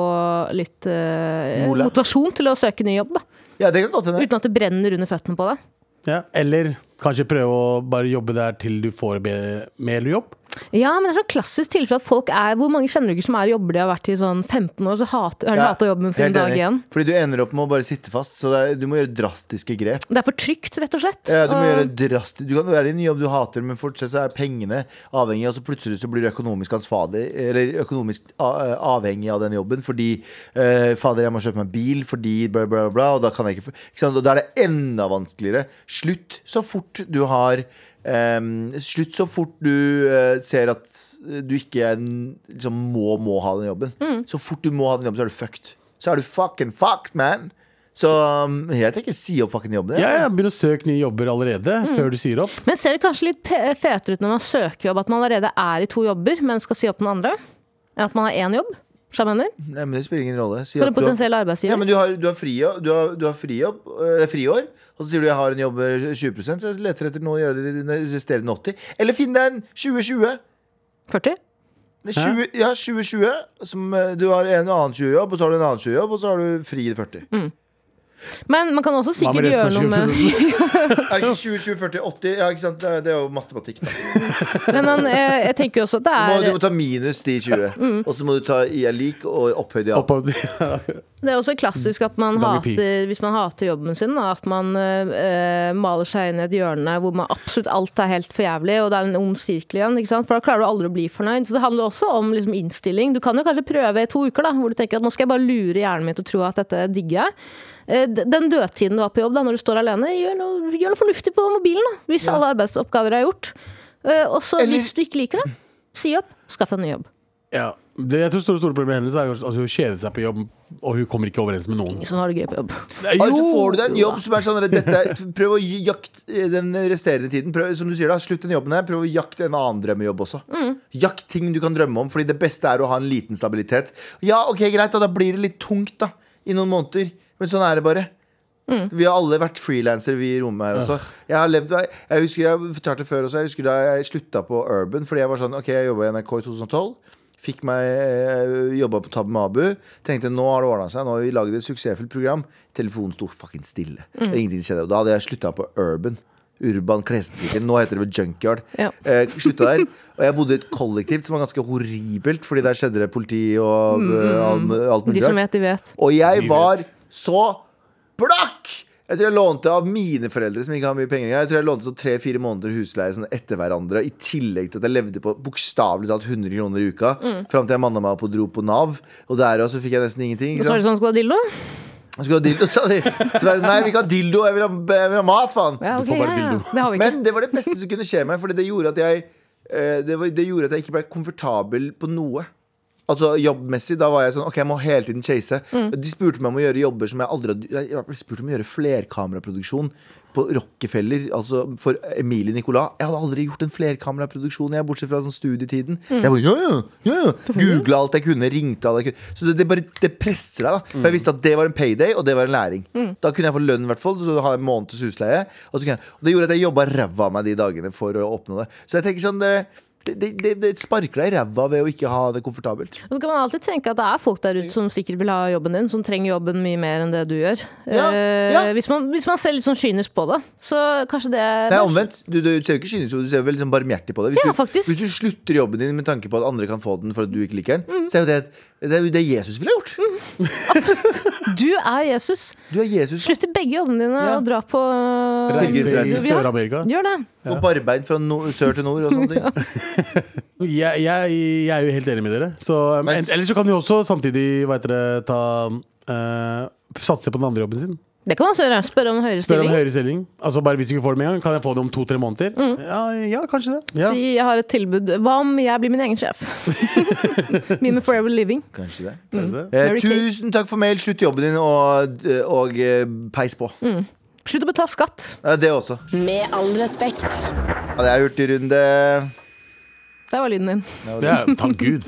C: litt eh,
B: Mola.
C: motivasjon til å søke ny jobb. Da.
B: Ja, det kan godt hende.
C: Uten at det brenner under føttene på deg.
D: Ja. Eller kanskje prøve å bare jobbe der til du får be- mer jobb.
C: Ja, men det er sånn klassisk tilfelle at folk er Hvor mange kjenner du ikke som er i jobber de har vært i sånn 15 år, så hater, har de
B: Ja,
C: hata jobben sin
B: helt
C: dag
B: enig.
C: igjen?
B: Fordi du ender opp med å bare sitte fast. Så det er, du må gjøre drastiske grep.
C: Det er for trygt, rett og slett.
B: Ja, Eh, du, må
C: Og-
B: gjøre drasti du kan være i en jobb du hater, men fortsatt så er pengene avhengig. Og så plutselig så blir du økonomisk ansvarlig Eller økonomisk a- eh, avhengig av den jobben fordi eh, 'Fader, jeg må kjøpe meg bil fordi bla, bla, bla.' Og da kan jeg ikke, få- ikke sant? Og da er det enda vanskeligere. Slutt så fort du har em, Slutt så fort du eh, ser at du ikke er en- liksom, må, må ha den jobben. Så fort du må ha den jobben, så er du fucked. Så er du fucking fucked, man. Så um, jeg tenker si opp fucking jobben. jeg.
D: Ja, ja, Begynn å søke nye jobber allerede,
C: Mm.
D: før du sier opp.
C: Men ser det kanskje litt pe- fetere ut når man søker jobb, at man allerede er i to jobber, men skal si opp den andre? Enn at man har én jobb? Skjønner jeg mener?
B: Nei, men Det spiller ingen rolle. Si
C: For
B: at
C: en
B: du har-
C: potensiell
B: Ja, men
C: arbeidsgiver.
B: du har, du har, frijobb, du har, du har frijobb, eh, friår, og så sier du jeg har en jobb eh, 20 så jeg leter etter noe å gjøre det i den resterende 80 Eller finn deg en 2020.
C: 40?
B: Nei, 20, ja, 2020. Som, eh, du har en annen 20-jobb, og så har du en annen 20-jobb, og så har du fri i 40.
C: Mm. Men man kan også
D: Hva med
C: sikkert gjøre
D: resten
C: noe
D: av
C: med
D: 20%?
B: Er det ikke 20, 20, 40, 80? Ja, ikke sant? Det er- Det er jo matematikk. Da.
C: Men man, jeg, jeg tenker jo også at det
B: Du, må, du
C: Mm. er,
B: må ta minus de 20, og så må du ta i er lik og opphøyd i alt.
D: Oppå-
C: det er også klassisk at
B: Mm.
C: man
D: Double P.
C: hater Hvis man hater jobben sin, da, at man eh, eh, maler seg inn i et hjørne hvor man absolutt alt er helt for jævlig, og det er en ond sirkel igjen. Ikke sant? For da klarer du aldri å bli fornøyd. Så det handler også om liksom, innstilling. Du kan jo kanskje prøve i to uker, da, hvor du tenker at nå skal jeg bare lure hjernen min til å tro at dette digger jeg. Eh, d- Den dødtiden du har på jobb, da, når du står alene, gjør noe, gjør noe fornuftig på mobilen. Da, hvis alle arbeidsoppgaver er gjort. Eh, Og så,
B: Eller-
C: hvis du ikke liker det, si opp. Skaff deg en ny jobb.
D: ja. det, jeg tror store, store problemet hennes er at hun kjeder seg på jobb, og hun kommer ikke overens med noen.
C: Sånn har du det gøy på jobb.
B: Altså får du deg en jobb som er sånn at dette, er- Prøv å jakte den resterende tiden. Prøv, som du sier da, Slutt den jobben her. Prøv å jakte en annen drømmejobb også. Jakt ting du kan drømme om, fordi det beste er å ha en liten stabilitet. Ja, ok, greit, da, da blir det litt tungt da i noen måneder. Men sånn er det bare.
C: Mm.
B: Vi har alle vært frilansere, vi i rommet her også. Jeg har levd, jeg husker jeg fortalte før også, jeg husker da jeg slutta på Urban, fordi jeg var sånn, ok, jeg jobba i NRK i 2012. Fikk meg eh, jobba på Tab Mabu. Tenkte nå har det ordna seg. Nå har vi laget et suksessfullt program. Telefonen sto fucking stille.
C: Mm.
B: Ingenting skjedde. Og da hadde jeg slutta på Urban. Urban klesbutikken. Nå heter det vel Junkyard.
C: Ja.
B: Eh, slutta der. Og jeg bodde i et kollektiv som var ganske horribelt, fordi der skjedde det politi og eh, alt, alt
C: Mm, De
B: mulig
C: som
B: rart.
C: vet, de vet.
B: Og jeg var så blakk! Jeg tror jeg lånte av mine foreldre, som ikke har mye penger engang. Jeg tror jeg lånte sånn tre-fire måneder husleie sånn etter hverandre. I tillegg til at jeg levde på bokstavelig talt 100 kroner i uka.
C: Mm.
B: Fram til jeg manna meg opp og dro på Nav. Og der også fikk jeg nesten ingenting.
C: Og
B: Ikke
C: så er
B: sant?
C: det sånn, skal du ha dildo?
B: Jeg Skulle ha dildo, sa de. Så jeg, nei, vi ikke ha dildo, jeg vil ha, jeg vil ha mat, faen.
C: Ja, ok,
D: får bare
C: ja, ja.
D: dildo.
C: Det har vi ikke.
B: Men det var det beste som kunne skje meg, Fordi det gjorde at jeg eh, det, var, det gjorde at jeg ikke ble komfortabel på noe. Altså Jobbmessig da var jeg sånn Ok, jeg må hele tiden chase. De spurte meg om å gjøre jobber som jeg aldri hadde Jeg ble spurt om å gjøre flerkameraproduksjon på Rockefeller, altså for Emilie Nicolas. Jeg hadde aldri gjort en flerkameraproduksjon, jeg, bortsett fra sånn studietiden. Jeg bare, ja, ja, ja, ja. Googla alt jeg kunne, ringte alle jeg kunne. Så det, det bare det presser deg, da. For jeg visste at det var en payday, og det var en læring. Da kunne jeg få lønn, i hvert fall. Så hadde jeg en måneds husleie. Og, så kunne jeg, og det gjorde at jeg jobba ræva av meg de dagene for å oppnå det. Så jeg tenker sånn Det, det, det, det, det sparker deg i ræva ved å ikke ha det komfortabelt.
C: Og så kan man alltid tenke at det er folk der ute som sikkert vil ha jobben din, som trenger jobben mye mer enn det du gjør.
B: Ja,
C: Eh,
B: ja.
C: Hvis, man, hvis man ser litt sånn kynisk på det, så kanskje det
B: Det er omvendt. Du, du ser jo ikke kynisk ut, du ser veldig sånn barmhjertig på det.
C: Ja,
B: du,
C: faktisk.
B: hvis du slutter jobben din med tanke på at andre kan få den for at du ikke liker den,
C: Mm.
B: så er jo det det, er jo det Jesus ville ha gjort.
C: Du er Jesus.
B: Du er Jesus.
C: Slutt i begge jobbene dine
B: Ja.
C: og dra på
D: Reise i
B: Reise.
D: Sør-Amerika.
C: Gjør det.
B: Gå barbeint fra no sør til nord og sånne ting.
D: Jeg, jeg, jeg er jo helt enig med dere. Så, um,
B: Men-
D: en, ellers så kan vi også samtidig hva heter det, ta eh, Satse på den andre jobben sin.
C: Det kan man også gjøre. Spørre om høyere
D: Spør om
C: stilling.
D: høyere stilling. Altså bare Hvis du ikke får det med en gang, kan jeg få det om to-tre måneder? Ja, ja, kanskje det. Ja.
C: Mm. Si jeg har et tilbud. Hva om jeg blir min egen sjef? Min med Forever Living.
B: Kanskje det.
D: Kanskje det.
B: Eh,
C: Mm. Mary Kate.
B: tusen takk for mail. Slutt jobben din, og, og eh, peis på.
C: Mm. Slutt å betale skatt.
B: Ja, det også.
H: Med all respekt.
B: Ja, det er hurtigrunde.
C: Der var lyden din.
D: Det er, takk Gud.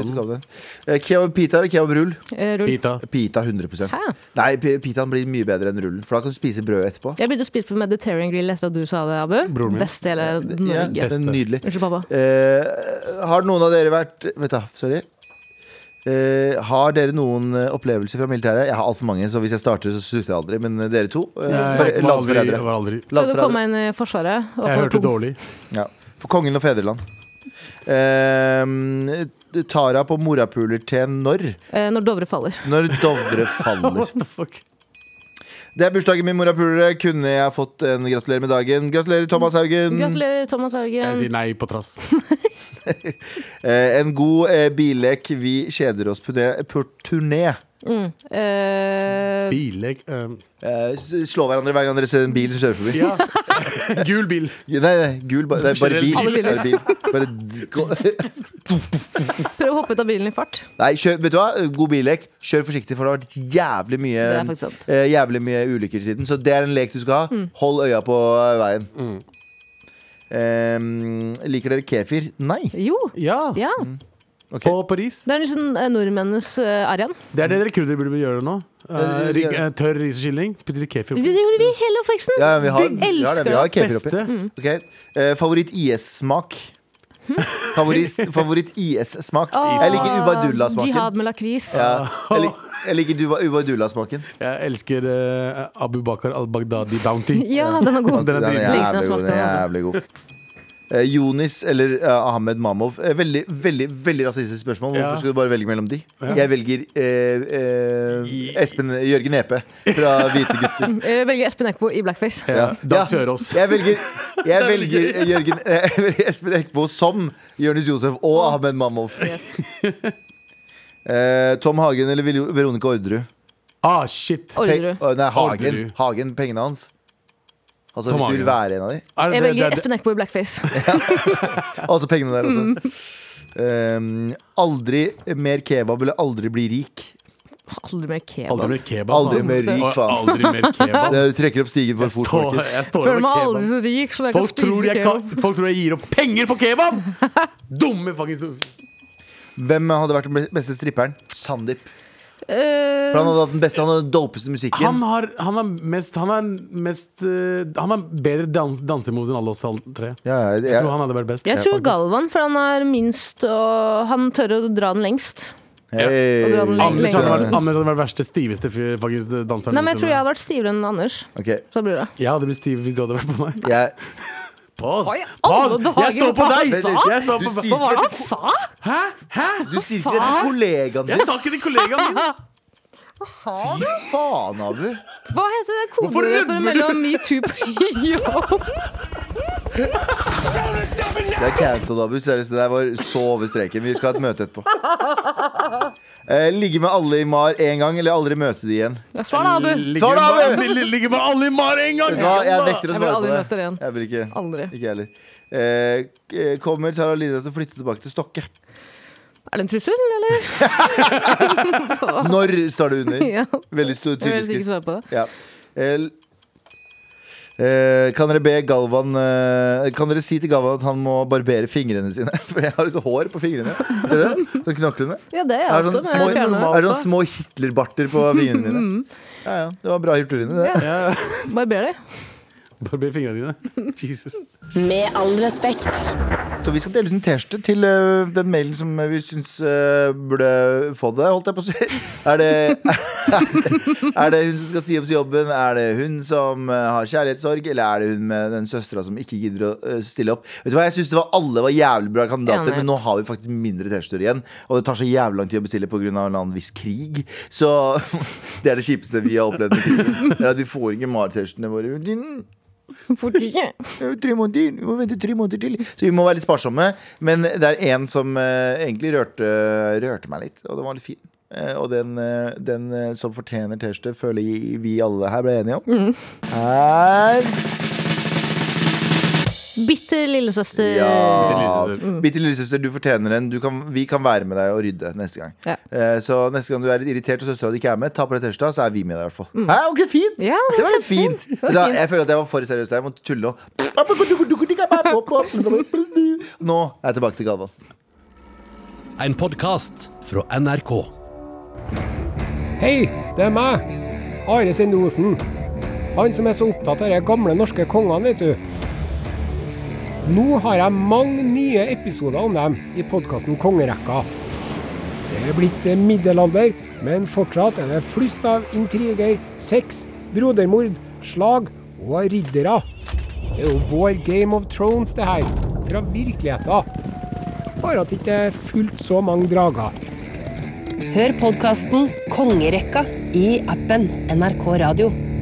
B: Slutt å
D: den.
B: kalle det. Eh, Kebab pita eller kebab rull?
C: Eh, Rull.
D: Pita.
B: Pita 100
C: Hæ?
B: Nei, pi- pitaen blir mye bedre enn rullen, for da kan du spise brødet etterpå.
C: Jeg begynte å spise på Mediterranean Grill etter at du sa det, Abu.
D: Broren min.
C: Beste i hele
B: Ja,
C: Norge.
B: det er nydelig.
C: Unnskyld, pappa.
B: Eh, har noen av dere vært Vet du, sorry. Eh, har dere noen eh, opplevelser fra militæret? Jeg har altfor mange, så hvis jeg starter, så slutter jeg aldri. Men eh, dere to? eh, bare
D: Jeg var aldri,
B: Landsforrædere.
D: var aldri
C: Skal du komme
B: Landsforrædere.
C: inn i Forsvaret? og
D: Jeg
C: få
D: hørte
C: to-
D: dårlig.
B: Ja. For kongen og fedreland. Eh, Tara på morapuler til når?
C: Eh, Når Dovre faller.
B: Når Dovre faller.
D: fuck?
B: Det er bursdagen min, morapulere. Kunne jeg fått en gratulerer med dagen? Gratulerer, Thomas Haugen.
C: Gratulerer, Thomas
D: Jeg
C: Haugen.
D: sier nei på trass.
B: Eh, en god eh, billek. Vi kjeder oss på det- på turné.
C: Mm. Eh,
D: Billegg um,
B: Eh, s- slå hverandre hver gang dere ser en bil som kjører forbi.
D: Ja. Gul bil.
B: Nei, nei, gul, ba, det er bare bil.
D: Alle
C: biler.
B: Bare bil. Bare d- gå-
C: Prøv å hoppe ut av bilen i fart.
B: Nei, kjør, vet du hva? God billek. Kjør forsiktig, for det har vært jævlig
C: Det er
B: mye,
C: faktisk sant. Mm.
B: eh, jævlig mye ulykker i tiden. Så det er en lek du skal ha. Hold øya på eh, veien. Eh, liker dere kefir? Nei.
C: Jo.
D: Ja.
C: Ja.
B: Mm. Ok.
D: På Paris.
C: Det er liksom eh, nordmennenes eh, arian.
D: Det er det dere kurdere burde gjøre nå. Eh, rig- eh, tørr ris og kylling. Putt litt kefir
C: Det
D: oppi.
C: gjorde vi hele oppveksten.
B: Ja, vi har,
C: Digg.
B: ja, det, vi har kefir oppi.
D: Beste.
B: Ok. Eh, favoritt IS-smak? Favoritt, favoritt IS-smak? Jeg liker Ubadullah-smaken.
C: Jihad med lakris.
B: Ja, jeg, lik, jeg liker Duba- Ubadullah-smaken.
D: Jeg elsker eh, Abu Bakar al-Baghdadi Bounty.
C: Ja, den er god.
D: Den er
B: Den er jævlig
D: dritgod.
B: god. Den er
C: altså.
B: jævlig god. Eh, Jonis eller eh, Ahmed Mamov. Eh, veldig veldig, veldig rasistisk spørsmål. Hvorfor
D: Ja.
B: skal du bare velge mellom de? Jeg velger eh, eh, Espen Jørgen Epe fra Hvite gutter.
C: Jeg Eh, velger Espen Eckbo i blackface.
D: Ja.
B: Ja.
D: Dag Sørås.
B: Jeg velger, jeg velger eh, Jørgen, eh, jeg velger Espen Eckbo som Jonis Josef og Ahmed Mamov. Eh, Tom Hagen eller Vil- Veronica Orderud?
D: Ah, shit.
B: Pe-
C: Orderud.
B: Å, Nei, Hagen.
D: Orderud.
B: Hagen, Pengene hans. Altså
D: Tom
B: Hvis du vil
D: Hagen.
B: være en av de.
D: Er det-
C: Jeg
D: det-
C: velger
D: det-
C: Espen Eckbo i blackface.
B: Altså pengene der også.
C: Mm.
B: Um, aldri mer kebab eller aldri bli rik.
C: Aldri mer kebab.
D: Aldri mer kebab.
B: Aldri
D: da.
B: mer
D: Og
B: rik, faen.
D: Aldri mer kebab.
B: Det er- Du trekker opp stigen for
D: Jeg
B: fort,
D: står,
B: folkens.
D: jeg står
C: Føler
D: over
C: meg
D: kebab.
C: aldri så rik, så jeg kan
D: Folk tror,
C: spise
D: jeg
C: kebab.
D: kan, folk tror jeg gir opp penger på kebab! Dumme fuckings
B: Hvem hadde vært den beste stripperen? Sandeep.
C: Eh,
B: For han hadde hatt den beste, han hadde den dopeste musikken.
D: Han har, han er mest Han er mest eh, Han har bedre dans, dansemoves enn alle oss alle tre.
B: ja, ja,
D: Jeg tror
B: ja.
D: han hadde vært best.
C: jeg tror Galvan, for han er minst og han tør å dra den lengst.
B: Hey.
C: Og dra den
D: Anders
C: lengst.
D: hadde vært, Anders hadde vært verste, stiveste fyr, faktisk, danseren.
C: Nei, men jeg tror jeg
D: noensinne.
C: hadde vært stivere enn Anders.
B: Ok,
C: Så blir det.
D: Jeg hadde blitt stiv hvis du hadde vært på meg.
B: jeg-
D: Pass!
C: Oi,
D: Pass!
C: alle dager,
D: Jeg så på
C: hva
D: deg!
B: han sa?
D: Jeg så
B: Du
D: på,
B: sier-
C: Hva var det han sa?
D: hæ? Hæ?
B: Du sier ikke det til kollegaen din.
D: Jeg sa ikke til kollegaen min!
B: Fy faen, Abu.
C: Hva heter det
D: Hvorfor
C: kodeordet for
D: rødmer
C: mellom metoo og
B: Det er cancelled, Abu. Seriøst, det der var så over streken. Vi skal ha et møte etterpå. Eh, ligge med alle i MAR én gang, eller aldri møte de igjen?
C: Ja, Svar da, Abu.
D: Ligger
B: Svar da,
D: med-
B: Abu!
D: Ligger ligger med alle i mar en gang!
B: Vet du hva, Jeg nekter å
C: Jeg vil
B: svare
C: aldri
B: på
C: møte dere igjen.
B: det. Jeg vil ikke.
C: Aldri.
B: Ikke jeg heller. Eh, k- kommer Tara Lidra til å flytte tilbake til Stokke?
C: Er det en trussel, eller?
B: Når står det under?
C: Ja.
B: Veldig stor
C: Jeg vil helst ikke
B: tydelig skrift.
C: svare på det.
B: Ja. El- Eh, kan dere be Galvan eh, Kan dere si til Galvan at han må barbere fingrene sine? For jeg har litt hår på fingrene. Ser dere? det? Sånn knoklene.
C: Ja, det er
B: Jeg
C: jeg
B: har
C: også.
B: sånn
C: men
B: små,
C: jeg fjerner
B: jeg
C: det.
B: har sånn små Hitlerbarter på fingrene mine.
C: Mm.
B: Ja, ja. Det var bra gjort, Rune. Det.
C: Barber deg.
D: Barber fingrene dine. Jesus.
H: Med all respekt.
B: Så vi skal dele ut en T-skjorte til ø, den mailen som vi syns ø, burde få det, holdt jeg på å si. Er det, er, det, er det hun som skal si opp jobben? Er det hun som ø, har kjærlighetssorg? Eller er det hun med den søstera som ikke gidder å ø, stille opp? Vet du hva, Jeg syns alle var jævlig bra kandidater,
C: Enig.
B: men nå har vi faktisk mindre T-skjorter igjen. Og det tar så jævlig lang tid å bestille pga. en eller annen viss krig. Så det er det kjipeste vi har opplevd. med krigen. Det er at vi får ikke Mar-T-skjortene våre. Din-
C: Fort ikke.
B: det er jo Tre måneder, vi må vente tre måneder til Så vi må være litt sparsomme Men det er en som eh, egentlig rørte, rørte meg litt Og den var litt fin Eh, Og den, eh, den eh, som fortjener T-skjorte Føler vi alle her ble enige om Er
C: Bitter lillesøster.
B: Ja.
D: Bitte lillesøster.
B: Bitte lillesøster, du fortjener en. Du kan, vi kan være med deg og rydde neste gang.
C: Ja.
B: Eh, så neste gang du er litt irritert og søstera di ikke er med, ta på deg T-skjorta, så er vi med deg i hvert fall. Hæ, ok, fint!
C: Mm. Ja,
B: det var litt fint.
C: var
B: Da,
C: fint.
B: jeg føler at jeg var for seriøs der. Jeg måtte tulle nå. Nå er jeg tilbake til Galvan.
J: En podkast fra NRK.
K: Hei, det er meg, Are Sinde Osen. Han som er så opptatt av de gamle norske kongene, vet du. Nå har jeg mange nye episoder om dem i podkasten Kongerekka. Det er blitt eh, middelalder, men fortsatt er det flust av intriger, sex, brodermord, slag og riddere. Det er jo vår Game of Thrones, det her. Fra virkeligheten. Bare at det ikke er fullt så mange drager.
A: Hør podkasten Kongerekka i appen NRK Radio.